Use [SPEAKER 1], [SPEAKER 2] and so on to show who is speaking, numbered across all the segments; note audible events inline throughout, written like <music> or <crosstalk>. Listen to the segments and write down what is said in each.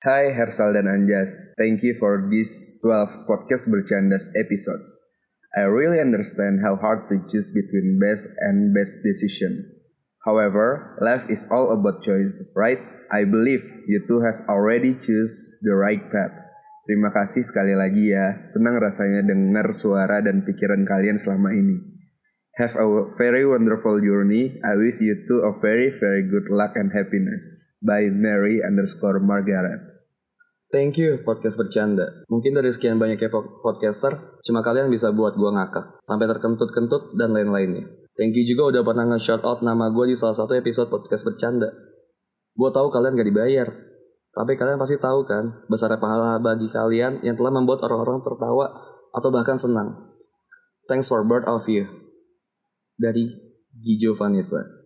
[SPEAKER 1] Hai Hersal dan Anjas, thank you for this 12 podcast bercandas episodes. I really understand how hard to choose between best and best decision. However, life is all about choices, right? I believe you two has already choose the right path. Terima kasih sekali lagi ya, senang rasanya dengar suara dan pikiran kalian selama ini. Have a very wonderful journey. I wish you two a very very good luck and happiness. By Mary underscore Margaret.
[SPEAKER 2] Thank you podcast bercanda. Mungkin dari sekian banyaknya po- podcaster, cuma kalian bisa buat gua ngakak, sampai terkentut-kentut dan lain-lainnya. Thank you juga udah pernah nge-shout out nama gua di salah satu episode podcast bercanda. Gua tahu kalian gak dibayar, tapi kalian pasti tahu kan besar pahala bagi kalian yang telah membuat orang-orang tertawa atau bahkan senang. Thanks for both of you. Dari Gijo Vanessa.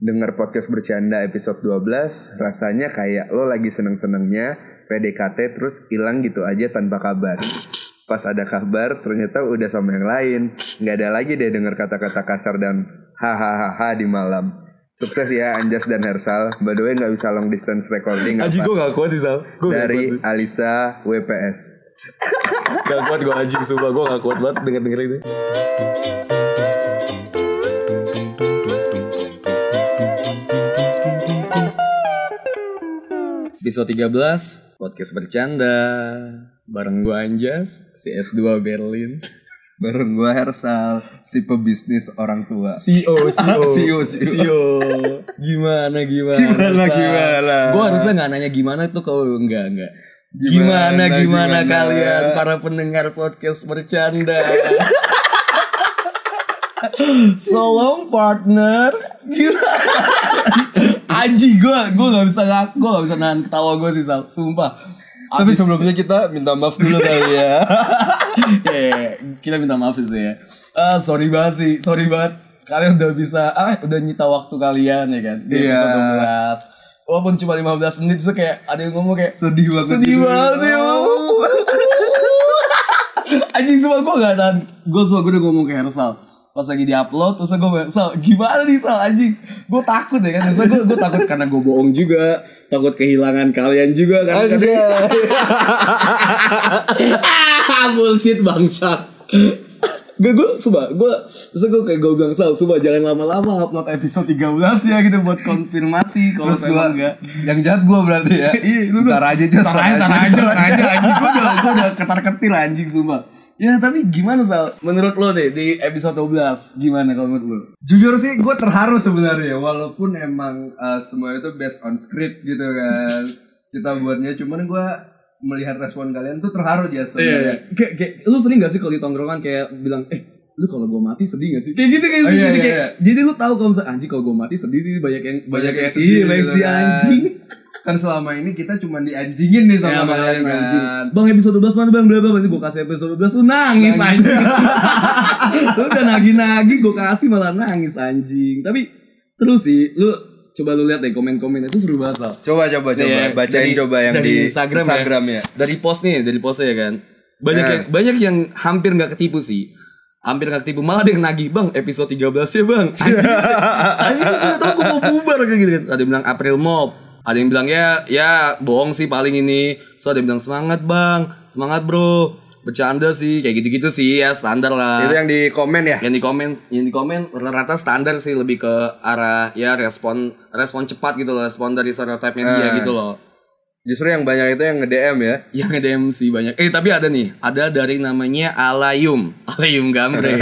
[SPEAKER 1] Dengar podcast bercanda episode 12, rasanya kayak lo lagi seneng-senengnya PDKT terus hilang gitu aja tanpa kabar. Pas ada kabar, ternyata udah sama yang lain. Nggak ada lagi deh dengar kata-kata kasar dan hahaha di malam. Sukses ya Anjas dan Hersal. By the way nggak bisa long distance recording
[SPEAKER 2] Aji
[SPEAKER 1] apa?
[SPEAKER 2] gue gak kuat sih Sal Gua nggak
[SPEAKER 1] Dari
[SPEAKER 2] kuat sih.
[SPEAKER 1] Alisa WPS.
[SPEAKER 2] Gak kuat gue anjing sumpah Gue gak kuat banget denger denger ini Episode 13 Podcast Bercanda Bareng gue Anjas Si S2 Berlin
[SPEAKER 1] Bareng gue Hersal, si pebisnis orang tua.
[SPEAKER 2] CEO <laughs> CEO
[SPEAKER 1] CEO.
[SPEAKER 2] E Gimana gimana
[SPEAKER 1] Gimana, gimana?
[SPEAKER 2] Gue harusnya gak nanya gimana tuh kalau enggak enggak
[SPEAKER 1] Gimana,
[SPEAKER 2] Gimana gimana,
[SPEAKER 1] gimana?
[SPEAKER 2] kalian para pendengar podcast bercanda So long partners Gimana Aji gue Gue gak bisa ngaku Gue gak bisa nahan ketawa gue sih Sal Sumpah
[SPEAKER 1] Tapi sebelumnya kita minta maaf dulu kali ya.
[SPEAKER 2] <laughs> ya, ya, ya. kita minta maaf sih ya. Ah, sorry banget sih, sorry banget. Kalian udah bisa, ah, udah nyita waktu kalian ya kan
[SPEAKER 1] Iya.
[SPEAKER 2] di episode 12. Walaupun cuma 15 menit tuh kayak ada yang ngomong kayak
[SPEAKER 1] Sedih banget.
[SPEAKER 2] sedih banget ya. <laughs> Anjing semua gue gak tahan Gue semua gue udah ngomong ke Hersal Pas lagi di upload Terus gue bilang Sal gimana nih Sal anjing Gue takut ya kan Biasanya gue, gue takut karena gue bohong juga Takut kehilangan kalian juga kan ah <laughs> bullshit bangsat Gue gue coba gue terus gue kayak gue bilang sal coba jangan lama-lama upload episode 13 ya gitu buat konfirmasi kalau
[SPEAKER 1] Terus gue
[SPEAKER 2] memang enggak
[SPEAKER 1] yang jahat gue berarti ya.
[SPEAKER 2] Iya, lu
[SPEAKER 1] Ntar aja Jos,
[SPEAKER 2] Tar aja, tar aja, tar aja, anjing gue udah, gue udah ketar ketir anjing sumpah. Ya tapi gimana Sal? Menurut lo deh di episode 12 gimana kalau menurut lo?
[SPEAKER 1] Jujur sih gue terharu sebenarnya walaupun emang eh, semua itu based on script gitu kan. Kita buatnya cuman gue melihat respon kalian tuh terharu ya
[SPEAKER 2] Iya.
[SPEAKER 1] sebenarnya.
[SPEAKER 2] Kayak, kayak lu sering gak sih kalau di tongkrongan kayak bilang eh lu kalau gue mati sedih gak sih? Kayak gitu kayak
[SPEAKER 1] Oh,
[SPEAKER 2] sih.
[SPEAKER 1] iya,
[SPEAKER 2] jadi
[SPEAKER 1] iya,
[SPEAKER 2] kayak jadi lu tahu kalau misalnya anjing kalau
[SPEAKER 1] <laughs>
[SPEAKER 2] gue mati sedih sih banyak yang banyak, yang sedih, iya,
[SPEAKER 1] gitu
[SPEAKER 2] banyak sedih
[SPEAKER 1] kan.
[SPEAKER 2] anjing.
[SPEAKER 1] Kan selama ini kita cuman dianjingin nih
[SPEAKER 2] Ya,
[SPEAKER 1] sama kalian
[SPEAKER 2] makanya anjing.
[SPEAKER 1] kan.
[SPEAKER 2] Bang episode 12 mana bang? Bla bla nanti gue kasih episode 12 lu nangis,
[SPEAKER 1] Nangis.
[SPEAKER 2] anjing. <laughs> lu udah nagih-nagih gue kasih malah nangis anjing. Tapi seru sih. Lu coba lu lihat deh komen-komen itu seru banget. Sal.
[SPEAKER 1] Coba coba coba
[SPEAKER 2] Iya,
[SPEAKER 1] bacain
[SPEAKER 2] dari-
[SPEAKER 1] coba yang
[SPEAKER 2] dari
[SPEAKER 1] di
[SPEAKER 2] Instagram ya.
[SPEAKER 1] ya.
[SPEAKER 2] Dari post nih, dari postnya ya kan. Banyak
[SPEAKER 1] Nah.
[SPEAKER 2] yang banyak yang hampir nggak ketipu sih. Hampir nggak ketipu. Malah ada yang nagih, "Bang, episode 13 ya,
[SPEAKER 1] <laughs>
[SPEAKER 2] Bang." Anjing. Anjing gue tahu gue mau bubar kayak gitu kan. Ada yang bilang April Mop. Ada yang bilang ya ya bohong sih paling ini. So ada yang bilang semangat bang, semangat bro, bercanda sih kayak gitu-gitu sih ya standar
[SPEAKER 1] Itu
[SPEAKER 2] lah.
[SPEAKER 1] yang di komen ya.
[SPEAKER 2] Yang di komen yang di komen rata-rata standar sih lebih ke arah ya respon respon cepat gitu loh, respon dari stereotipnya dia
[SPEAKER 1] Eh.
[SPEAKER 2] gitu loh.
[SPEAKER 1] Justru yang banyak itu yang nge-DM ya.
[SPEAKER 2] Yang nge-DM sih banyak. Eh tapi ada nih, ada dari namanya Alayum. <laughs> Alayum Gambreng.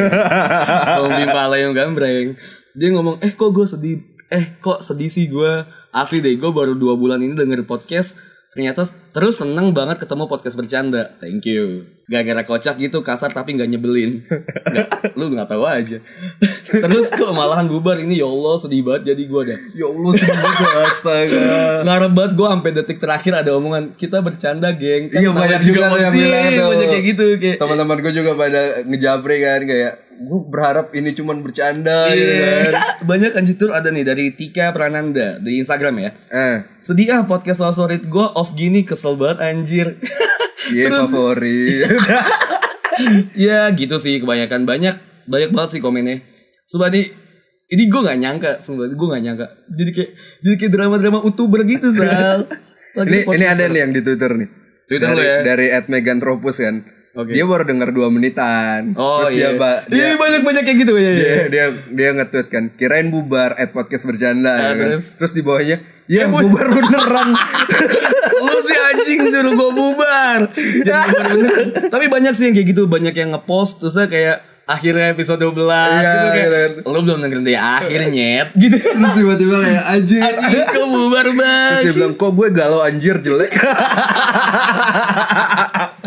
[SPEAKER 2] Om Bimpa Alayum Gambreng. Dia ngomong, "Eh kok gue sedih? Eh kok sedih sih gue? Asli deh, gue baru dua bulan ini denger podcast Ternyata terus seneng banget ketemu podcast bercanda. Thank you. Gak gara kocak gitu kasar tapi gak nyebelin. Gak, lu gak tahu aja. Terus kok malahan bubar ini ya Allah sedih banget jadi gue dah.
[SPEAKER 1] Ya Allah semoga astaga. <laughs>
[SPEAKER 2] Ngarep banget gue sampai detik terakhir ada omongan kita bercanda geng. Kan
[SPEAKER 1] Iya,
[SPEAKER 2] namanya
[SPEAKER 1] banyak juga yang
[SPEAKER 2] Iya,
[SPEAKER 1] bilang tuh.
[SPEAKER 2] Banyak kayak gitu kayak.
[SPEAKER 1] Teman-teman gue juga pada ngejapri kan kayak gue berharap ini cuman bercanda gitu
[SPEAKER 2] Iya.
[SPEAKER 1] kan.
[SPEAKER 2] <laughs> banyak kan citur ada nih dari Tika Prananda di Instagram ya.
[SPEAKER 1] Eh,
[SPEAKER 2] Sedih ah podcast favorit gue off gini kesel banget <laughs> anjir.
[SPEAKER 1] iya
[SPEAKER 2] Terus-
[SPEAKER 1] favorit.
[SPEAKER 2] ya gitu sih kebanyakan banyak banyak banget sih komennya. Coba nih ini <laughs> gue gak nyangka, sumpah gue gak nyangka. Jadi kayak jadi kayak drama-drama youtuber gitu sal. <laughs> Lagi
[SPEAKER 1] Ini
[SPEAKER 2] di
[SPEAKER 1] ini
[SPEAKER 2] podcast.
[SPEAKER 1] ada nih yang di Twitter nih.
[SPEAKER 2] Twitter
[SPEAKER 1] dari,
[SPEAKER 2] lu ya?
[SPEAKER 1] Dari @megantropus kan.
[SPEAKER 2] Oke.
[SPEAKER 1] Dia baru denger 2 menitan.
[SPEAKER 2] Oh
[SPEAKER 1] Terus
[SPEAKER 2] iya.
[SPEAKER 1] dia, ba- dia,
[SPEAKER 2] Iya, banyak-banyak kayak gitu ya.
[SPEAKER 1] dia dia dia nge-tweet kan, kirain bubar at podcast bercanda ya kan.
[SPEAKER 2] Ah, terus? Eh,
[SPEAKER 1] Terus di bawahnya, ya bubar
[SPEAKER 2] <laughs>
[SPEAKER 1] beneran.
[SPEAKER 2] lu si anjing suruh gue bubar Jangan bubar beneran. tapi banyak sih yang kayak gitu banyak yang ngepost terusnya kayak akhirnya episode 12 gitu
[SPEAKER 1] Iya,
[SPEAKER 2] kayak lu belum dengerin ya akhirnya gitu
[SPEAKER 1] Terus tiba-tiba kayak anjir.
[SPEAKER 2] anjing kok bubar
[SPEAKER 1] Terus
[SPEAKER 2] banget
[SPEAKER 1] dia bilang, kok gue galau anjir jelek.
[SPEAKER 2] <laughs>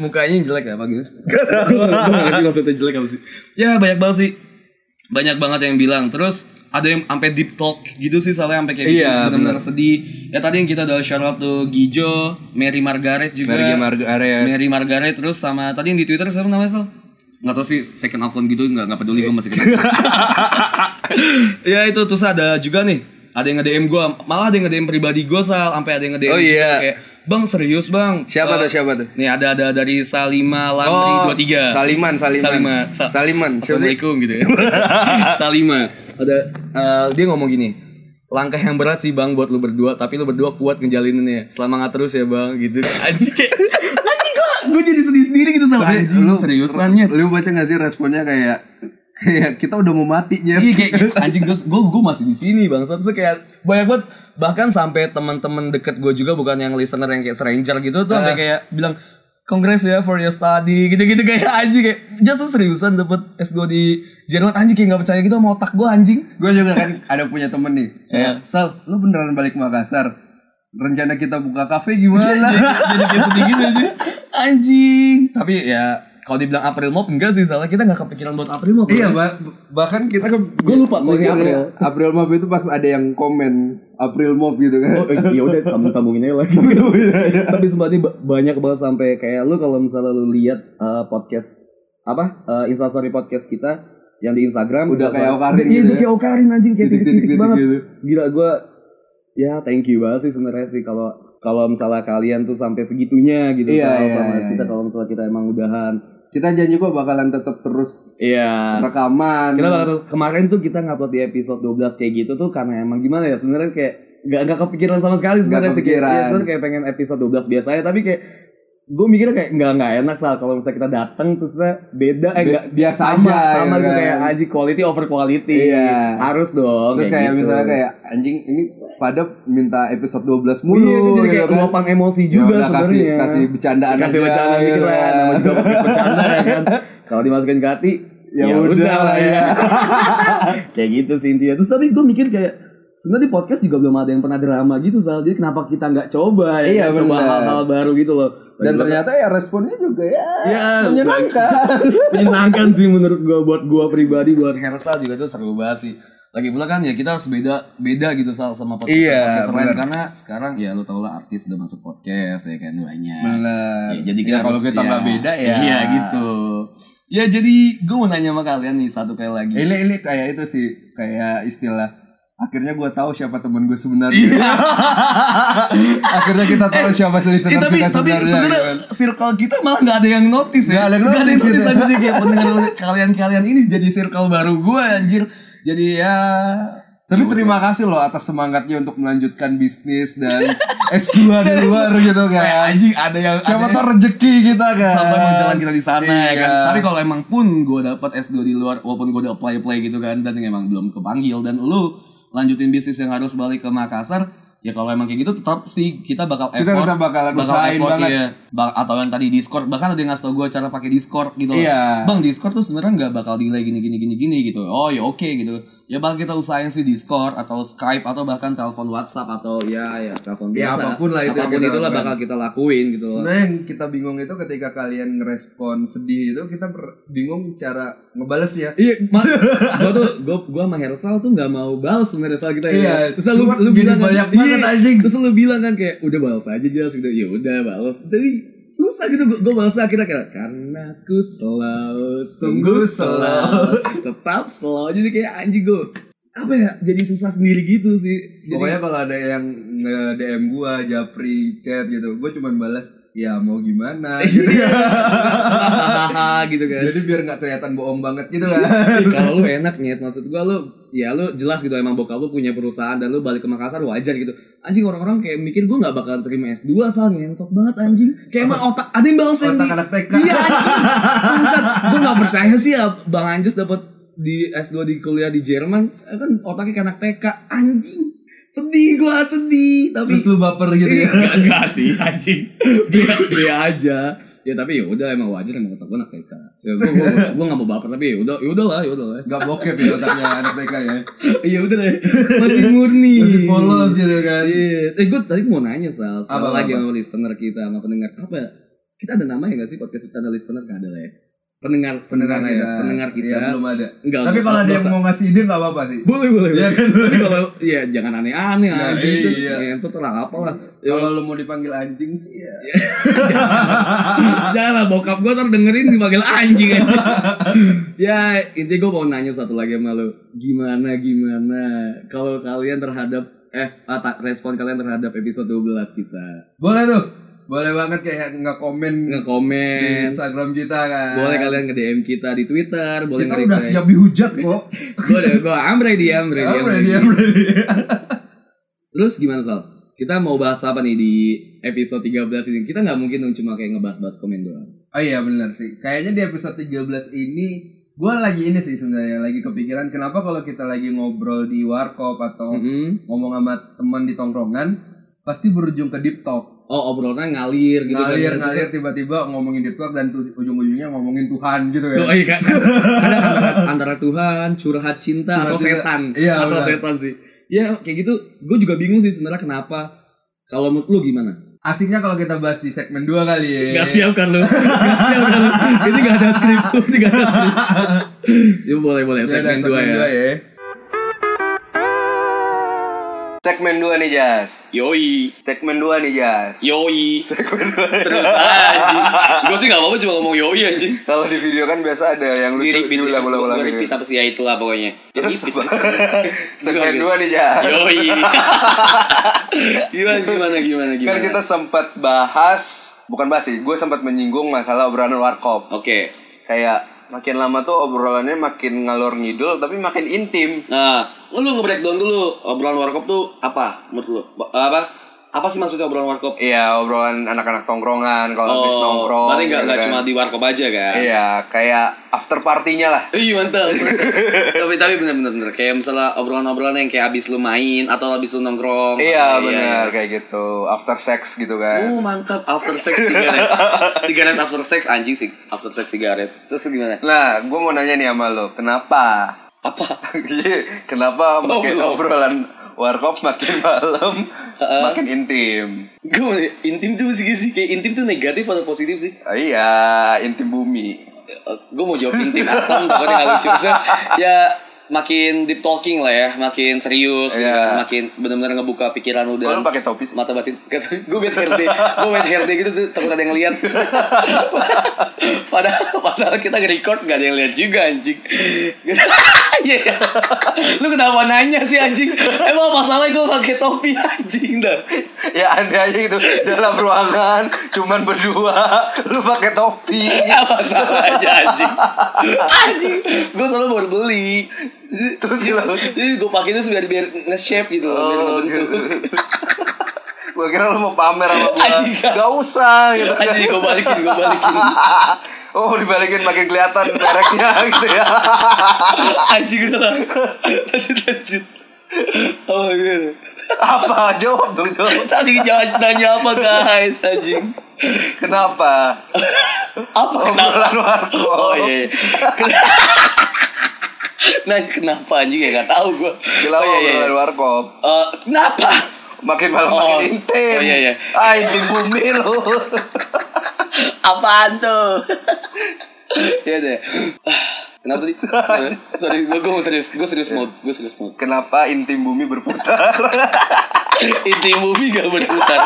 [SPEAKER 2] mukanya jelek apa gitu Gua nggak ngerti maksudnya jelek apa sih ya banyak banget sih banyak banget yang bilang terus ada yang sampai deep talk gitu sih soalnya sampai kayak gitu,
[SPEAKER 1] Iya,
[SPEAKER 2] benar-benar sedih ya tadi yang kita udah shout out tuh Gijo gitu. Mary Margaret juga
[SPEAKER 1] Pergi marga area.
[SPEAKER 2] Mary Margaret terus sama tadi yang di Twitter siapa namanya Sel? Nggak tahu sih second account gitu nggak nggak peduli gue masih kenal. ya itu terus ada juga nih ada yang nge-DM gue malah ada yang nge-DM pribadi gue Sal sampai ada yang nge-DM
[SPEAKER 1] Oh, iya.
[SPEAKER 2] kayak Bang serius bang
[SPEAKER 1] Siapa
[SPEAKER 2] Eh,
[SPEAKER 1] tuh, siapa tuh? Oh,
[SPEAKER 2] Nih ada ada dari Salima Lamri 23
[SPEAKER 1] Saliman, Saliman.
[SPEAKER 2] Salima Sa-
[SPEAKER 1] Saliman. Siapa sih?
[SPEAKER 2] Assalamualaikum <laughs> gitu ya Salima Ada eh, Dia ngomong gini Langkah yang berat sih bang buat lu berdua Tapi lu berdua kuat ngejalininnya Selama nggak terus ya bang gitu <laughs> Anjing kayak Anjing gue Gue jadi sedih sendiri gitu sama
[SPEAKER 1] Tapi
[SPEAKER 2] anjing
[SPEAKER 1] lu-
[SPEAKER 2] seriusannya
[SPEAKER 1] Lu baca gak sih responnya kayak kayak kita udah mau mati Nyet.
[SPEAKER 2] Iya kayak, kayak anjing gue gue gue masih di sini bang Satu tuh kayak banyak banget bahkan sampai teman-teman deket gue juga bukan yang listener yang kayak stranger gitu tuh sampai kayak bilang Congrats ya for your study gitu-gitu kayak anjing kayak just lu seriusan dapet S2 di Jerman anjing kayak gak percaya gitu sama otak gue anjing
[SPEAKER 1] Gue juga kan ada punya temen nih. Kayak, Sal, lu beneran balik Makassar? Rencana kita buka kafe
[SPEAKER 2] jadi,
[SPEAKER 1] gimana?
[SPEAKER 2] jadi kayak sedih gitu anjing. <laughs> anjing tapi ya kalau dibilang April Mop enggak sih soalnya kita gak kepikiran buat April Mop
[SPEAKER 1] iya, ba- bahkan kita ke
[SPEAKER 2] Gua lupa kalau ini
[SPEAKER 1] mikirnya, April Mop itu pas ada yang komen April Mop gitu kan.
[SPEAKER 2] Oh, eh, ya udah sambung sambungin
[SPEAKER 1] <laughs>
[SPEAKER 2] aja lagi.
[SPEAKER 1] Iya,
[SPEAKER 2] Tapi sebenarnya ba- banyak banget sampai kayak lu kalau misalnya lu lihat eh, podcast apa eh, instastory podcast kita yang di Instagram
[SPEAKER 1] Udah
[SPEAKER 2] instastory-
[SPEAKER 1] kayak Okarin
[SPEAKER 2] Iya,
[SPEAKER 1] gitu
[SPEAKER 2] udah
[SPEAKER 1] ya.
[SPEAKER 2] kayak Okarin anjing kayak titik-titik
[SPEAKER 1] Titik-titik
[SPEAKER 2] banget.
[SPEAKER 1] gitu.
[SPEAKER 2] Gila gua ya thank you banget sih sebenarnya sih kalau kalau misalnya kalian tuh sampai segitunya gitu
[SPEAKER 1] Iya,
[SPEAKER 2] Sal,
[SPEAKER 1] iya,
[SPEAKER 2] sama
[SPEAKER 1] iya,
[SPEAKER 2] kita
[SPEAKER 1] iya.
[SPEAKER 2] kalau misalnya kita emang udahan.
[SPEAKER 1] Kita janji kok bakalan tetap terus
[SPEAKER 2] Iya.
[SPEAKER 1] rekaman.
[SPEAKER 2] Kita bakal kemarin tuh kita ngupload di episode 12 kayak gitu tuh karena emang gimana ya sebenarnya kayak gak, gak kepikiran sama sekali sebenarnya sih kayak,
[SPEAKER 1] kepikiran.
[SPEAKER 2] ya, sebenarnya kayak pengen episode 12 biasanya tapi kayak gue mikirnya kayak nggak nggak enak salah kalau misalnya kita datang terusnya beda eh
[SPEAKER 1] Be-
[SPEAKER 2] nggak
[SPEAKER 1] biasa aja,
[SPEAKER 2] sama, sama
[SPEAKER 1] gitu
[SPEAKER 2] gitu
[SPEAKER 1] kan.
[SPEAKER 2] kayak aji quality over quality
[SPEAKER 1] Iya.
[SPEAKER 2] harus dong
[SPEAKER 1] Terus kayak
[SPEAKER 2] gitu.
[SPEAKER 1] misalnya kayak anjing ini pada minta episode 12
[SPEAKER 2] Iya,
[SPEAKER 1] mulu.
[SPEAKER 2] jadi kayak
[SPEAKER 1] gitu kan.
[SPEAKER 2] luapan emosi
[SPEAKER 1] Ya
[SPEAKER 2] juga
[SPEAKER 1] udah, kasih,
[SPEAKER 2] sebenarnya
[SPEAKER 1] kasih bercandaan
[SPEAKER 2] kasih
[SPEAKER 1] aja,
[SPEAKER 2] bercandaan
[SPEAKER 1] gitu
[SPEAKER 2] dikit lah
[SPEAKER 1] kan.
[SPEAKER 2] nama juga podcast bercanda ya
[SPEAKER 1] <laughs>
[SPEAKER 2] kan kalau dimasukin ke hati
[SPEAKER 1] Ya udah lah ya.
[SPEAKER 2] <laughs> kayak gitu sih intinya terus tapi gue mikir kayak sebenarnya di podcast juga belum ada yang pernah drama gitu Sal jadi kenapa kita nggak coba ya
[SPEAKER 1] Iya,
[SPEAKER 2] kan? coba
[SPEAKER 1] bener.
[SPEAKER 2] hal-hal baru gitu loh
[SPEAKER 1] Dan ternyata ya responnya juga ya,
[SPEAKER 2] Ya,
[SPEAKER 1] menyenangkan.
[SPEAKER 2] <laughs> menyenangkan sih menurut gua buat gua pribadi buat Hersa juga tuh seru banget sih lagi pula kan ya kita harus beda beda gitu Sal, sama podcast
[SPEAKER 1] Iya,
[SPEAKER 2] podcast lain
[SPEAKER 1] bener.
[SPEAKER 2] karena sekarang ya lu tau lah artis udah masuk podcast ya kan banyak
[SPEAKER 1] Bener.
[SPEAKER 2] Ya, jadi kita
[SPEAKER 1] Ya, kalau
[SPEAKER 2] harus-
[SPEAKER 1] kita
[SPEAKER 2] ya.
[SPEAKER 1] nggak beda ya.
[SPEAKER 2] Iya gitu. Ya jadi gue mau nanya sama kalian nih satu kali lagi.
[SPEAKER 1] Ini ini kayak itu sih kayak istilah akhirnya gue tahu siapa teman gue sebenarnya. <laughs> akhirnya kita tahu siapa
[SPEAKER 2] Eh,
[SPEAKER 1] listener
[SPEAKER 2] tapi
[SPEAKER 1] Kan kita
[SPEAKER 2] tapi
[SPEAKER 1] sebenarnya.
[SPEAKER 2] sebenarnya
[SPEAKER 1] gitu kan.
[SPEAKER 2] circle kita malah nggak ada yang notice ya.
[SPEAKER 1] Nggak ada yang
[SPEAKER 2] Nggak
[SPEAKER 1] notice gitu.
[SPEAKER 2] notice, aku jadi kayak pendengar kalian-kalian ini jadi circle baru gue anjir. gitu. Jadi ya
[SPEAKER 1] Tapi terima kasih loh atas semangatnya untuk melanjutkan bisnis dan <laughs> S2 di luar gitu
[SPEAKER 2] kayak
[SPEAKER 1] kan.
[SPEAKER 2] anjing ada yang
[SPEAKER 1] Siapa
[SPEAKER 2] ada
[SPEAKER 1] tau rezeki kita kan.
[SPEAKER 2] sampai mau jalan kita di sana ya kan.
[SPEAKER 1] Iya.
[SPEAKER 2] Tapi kalau emang pun gue dapat S2 di luar walaupun gue udah apply apply gitu kan dan emang belum kepanggil dan lu lanjutin bisnis yang harus balik ke Makassar ya kalau emang kayak gitu tetap sih kita bakal
[SPEAKER 1] Kita
[SPEAKER 2] effort
[SPEAKER 1] tetap bakalan usahain banget.
[SPEAKER 2] iya. Ba- atau yang tadi Discord bahkan ada yang ngasih tau gue cara pakai Discord gitu loh.
[SPEAKER 1] Iya.
[SPEAKER 2] Bang Discord tuh sebenarnya nggak bakal delay gini gini gini gini gitu. Oh ya oke gitu. Ya bakal kita usahain sih Discord atau Skype atau bahkan telepon WhatsApp atau ya ya telepon
[SPEAKER 1] Ya,
[SPEAKER 2] biasa.
[SPEAKER 1] apapun lah itu yang
[SPEAKER 2] Apapun
[SPEAKER 1] kita
[SPEAKER 2] itulah
[SPEAKER 1] lakukan.
[SPEAKER 2] bakal kita lakuin gitu. loh.
[SPEAKER 1] Sebenarnya Nah, yang kita bingung itu ketika kalian ngerespon sedih itu kita per- bingung cara ya. ngebalesnya.
[SPEAKER 2] Iya, mak gua tuh gua gua sama Hersal tuh nggak mau balas sebenarnya soal kita
[SPEAKER 1] Iya,
[SPEAKER 2] ya. Terus lu
[SPEAKER 1] cuma
[SPEAKER 2] lu
[SPEAKER 1] gini
[SPEAKER 2] bilang kan,
[SPEAKER 1] banyak banget,
[SPEAKER 2] iya.
[SPEAKER 1] anjing.
[SPEAKER 2] Terus lu bilang kan kayak udah balas aja jelas gitu. Ya udah balas. Tapi susah gitu gua, gua balas akhirnya kayak karena aku slow, sungguh slow, tetap slow. Jadi kayak anjing gua
[SPEAKER 3] apa ya jadi susah sendiri gitu sih Jadi-
[SPEAKER 1] Pokoknya kalau ada yang nge-DM gua, Japri, chat gitu, gua cuman balas, ya mau
[SPEAKER 3] <laughs>
[SPEAKER 1] <laughs> gimana gitu.
[SPEAKER 3] Nah, kan. Hahaha, gitu kan
[SPEAKER 1] Jadi biar nggak kelihatan bohong banget gitu kan.
[SPEAKER 3] <laughs> Ih, kalau lu enak nyet maksud gua lu ya lu jelas gitu emang bokap lu punya perusahaan dan lu balik ke Makassar wajar gitu anjing orang-orang kayak mikir gua nggak bakalan terima S2 asal ngentot banget anjing kayak emang otak ada yang balas yang
[SPEAKER 1] Otak
[SPEAKER 3] di-
[SPEAKER 1] anak TK.
[SPEAKER 3] iya
[SPEAKER 1] <laughs>
[SPEAKER 3] anjing Bangsat. gua nggak percaya sih ya Bang Anjus dapat di S2 di kuliah di Jerman Eh, kan otaknya kayak anak TK anjing sedih gua sedih tapi Iya,
[SPEAKER 1] Terus lu baper gitu ya.
[SPEAKER 3] Enggak, enggak sih anjing. Dia dia aja. Ya tapi ya udah emang wajar emang otak gue anak TK. Ya gue gue gue nggak mau baper tapi ya udah ya udahlah ya udahlah.
[SPEAKER 1] Gak bokep ya otaknya anak TK ya.
[SPEAKER 3] Ya udah deh. Masih murni.
[SPEAKER 1] Masih polos gitu kan.
[SPEAKER 3] Iya. Eh gue tadi mau nanya Sal, Sal
[SPEAKER 1] Apa,
[SPEAKER 3] lagi
[SPEAKER 1] apa?
[SPEAKER 3] sama listener kita sama pendengar apa? Kita ada namanya gak sih podcast bercanda listener gak ada lah ya? Pendengar pendengar, ya, pendengar kita.
[SPEAKER 1] Iya, belum ada. Tapi
[SPEAKER 3] Enggak, enggak,
[SPEAKER 1] kalau ada yang
[SPEAKER 3] dosa.
[SPEAKER 1] mau ngasih ide nggak apa-apa sih.
[SPEAKER 3] boleh boleh.
[SPEAKER 1] Iya
[SPEAKER 3] boleh.
[SPEAKER 1] kan?
[SPEAKER 3] <laughs> Tapi kalau ya jangan aneh-aneh
[SPEAKER 1] Ya,
[SPEAKER 3] anjing itu.
[SPEAKER 1] iya.
[SPEAKER 3] Itu terlalu apa lah. Ya,
[SPEAKER 1] Kalau lu mau dipanggil anjing sih ya.
[SPEAKER 3] <laughs> Jangan lah bokap gue ntar dengerin dipanggil anjing
[SPEAKER 1] <laughs>
[SPEAKER 3] aja. ya intinya gue mau nanya satu lagi sama lo Gimana gimana kalau kalian terhadap eh ah, tak- respon kalian terhadap episode 12 kita
[SPEAKER 1] Boleh tuh. Boleh banget kayak nggak komen di
[SPEAKER 3] Nge-komen
[SPEAKER 1] Instagram kita kan.
[SPEAKER 3] Boleh kalian ke DM kita di Twitter Boleh
[SPEAKER 1] Kita
[SPEAKER 3] nge-reply.
[SPEAKER 1] udah siap dihujat
[SPEAKER 3] <laughs>
[SPEAKER 1] kok.
[SPEAKER 3] Gue udah gue amre di amre di
[SPEAKER 1] Ya,
[SPEAKER 3] amre.
[SPEAKER 1] ready, I'm ready.
[SPEAKER 3] Terus gimana Sal? Kita mau bahas apa nih di episode 13 ini? Kita nggak mungkin dong cuma kayak ngebahas-bahas komen doang
[SPEAKER 1] <laughs> Oh iya benar sih. Kayaknya di episode 13 ini gue lagi ini sih sebenarnya lagi kepikiran kenapa kalau kita lagi ngobrol di warkop atau
[SPEAKER 3] Mm-mm.
[SPEAKER 1] ngomong sama teman di tongkrongan pasti berujung ke deep talk.
[SPEAKER 3] Oh obrolannya ngalir gitu kan.
[SPEAKER 1] ngalir
[SPEAKER 3] Terus-
[SPEAKER 1] ngalir tiba-tiba ngomongin deep talk dan tu- ujung-ujungnya ngomongin Tuhan gitu kan.
[SPEAKER 3] Oh iya <laughs> kan. Ada antara, antara Tuhan, curhat cinta
[SPEAKER 1] Curhat
[SPEAKER 3] atau
[SPEAKER 1] cinta.
[SPEAKER 3] setan.
[SPEAKER 1] Iya,
[SPEAKER 3] atau
[SPEAKER 1] benar.
[SPEAKER 3] setan sih. Ya kayak gitu, gue juga bingung sih sebenarnya kenapa. Kalau menurut lu gimana?
[SPEAKER 1] Asiknya kalau kita bahas di segmen 2 kali ya.
[SPEAKER 3] Gak siap kan lu? Gak siap kan lu? Ini gak ada skrip, ini gak ada skrip. <laughs> ya boleh boleh,
[SPEAKER 1] Ya udah,
[SPEAKER 3] segmen 2 ya.
[SPEAKER 1] dua ya. Segmen 2 nih Jas.
[SPEAKER 3] Yoi,
[SPEAKER 1] Segmen 2 nih Jas.
[SPEAKER 3] yoi.
[SPEAKER 1] Segmen 2.
[SPEAKER 3] Terus anjing. Gue sih gak apa-apa cuma ngomong yoi anjing.
[SPEAKER 1] Kalau di video kan biasa ada yang lucu gitu. diulang-ulang
[SPEAKER 3] Gue
[SPEAKER 1] lagi.
[SPEAKER 3] gitu ya. repeat apa sih ya itulah pokoknya.
[SPEAKER 1] Terus segmen 2 nih Jas. <laughs>
[SPEAKER 3] Yoi. gimana gimana gimana gimana.
[SPEAKER 1] Kan kita sempat bahas, bukan bahas sih, gue sempat menyinggung masalah obrolan warkop.
[SPEAKER 3] Oke.
[SPEAKER 1] Kayak makin lama tuh obrolannya makin ngalor ngidul tapi makin intim.
[SPEAKER 3] Nah, lu nge-breakdown dulu obrolan warkop tuh apa menurut lu? Ba- Apa? Apa sih maksudnya obrolan warkop?
[SPEAKER 1] Iya, obrolan anak-anak tongkrongan kalau habis nongkrong.
[SPEAKER 3] Oh, berarti nggak
[SPEAKER 1] gitu
[SPEAKER 3] nggak
[SPEAKER 1] kan.
[SPEAKER 3] cuma di warkop aja kan?
[SPEAKER 1] Iya, kayak after partinya lah.
[SPEAKER 3] Ih
[SPEAKER 1] <laughs>
[SPEAKER 3] mantap. tapi tapi bener-bener bener. kayak misalnya obrolan-obrolan yang kayak abis lu main atau abis lu nongkrong.
[SPEAKER 1] Iya
[SPEAKER 3] Atau-
[SPEAKER 1] benar kayak gitu after sex gitu kan.
[SPEAKER 3] iya. Oh mantap after sex sigaret. sigaret after sex anjing sih after sex sigaret. Terus gimana?
[SPEAKER 1] Nah, gue mau nanya nih sama lo, kenapa? <laughs>
[SPEAKER 3] Apa?
[SPEAKER 1] Iya, kenapa makin
[SPEAKER 3] Oh, belum.
[SPEAKER 1] obrolan warkop makin malam makin intim?
[SPEAKER 3] Gue intim tuh sih sih kayak intim tuh negatif atau positif sih?
[SPEAKER 1] Ah, Iya, intim bumi.
[SPEAKER 3] gue mau jawab intim atom pokoknya gak lucu Maksudnya, ya makin deep talking lah ya makin serius gitu
[SPEAKER 1] Iya.
[SPEAKER 3] kan makin benar-benar ngebuka pikiran lu
[SPEAKER 1] Kalau lu
[SPEAKER 3] dan
[SPEAKER 1] pakai topi sih.
[SPEAKER 3] mata batin gue bad HRD gue bad HRD gitu tuh takut ada yang lihat padahal padahal kita nge-record gak ada yang lihat juga anjing Iya. lu kenapa nanya sih anjing emang masalahnya gue pakai topi anjing dah
[SPEAKER 1] Ya aneh aja gitu dalam ruangan cuman berdua lu pakai topi.
[SPEAKER 3] apa salahnya Iya, anjing anjing gue selalu baru beli
[SPEAKER 1] Terus gimana?
[SPEAKER 3] jadi gue pakai itu biar biar nge-shape gitu
[SPEAKER 1] Oh,
[SPEAKER 3] loh biar ngebentuk.
[SPEAKER 1] gitu. Gua kira lu mau pamer sama gua.
[SPEAKER 3] Anjing, gak.
[SPEAKER 1] Gak usah gitu.
[SPEAKER 3] anjing gue balikin gue balikin
[SPEAKER 1] <laughs> Oh dibalikin makin kelihatan mereknya <laughs> gitu ya.
[SPEAKER 3] anjing udah lah lanjut lanjut oh gitu
[SPEAKER 1] Apa jawab dong jawab.
[SPEAKER 3] tadi jangan nanya apa guys anjing
[SPEAKER 1] Kenapa?
[SPEAKER 3] apa kenapa
[SPEAKER 1] Obrolan warkop.
[SPEAKER 3] oh iya, iya. Ken- <laughs> nanya kenapa anjing ya gak tau gue
[SPEAKER 1] Kenapa obrolan warkop?
[SPEAKER 3] iya, Eh, kenapa
[SPEAKER 1] Makin malam
[SPEAKER 3] Oh.
[SPEAKER 1] makin intim.
[SPEAKER 3] Oh, iya, iya.
[SPEAKER 1] Ah intim bumi lu.
[SPEAKER 3] Apaan tuh? ya deh. Ah, Kenapa <laughs> tadi? Sorry, Sorry, gue gue serius, gue serius mode, gue serius mode.
[SPEAKER 1] Kenapa intim bumi berputar?
[SPEAKER 3] Inti bumi gak berputar.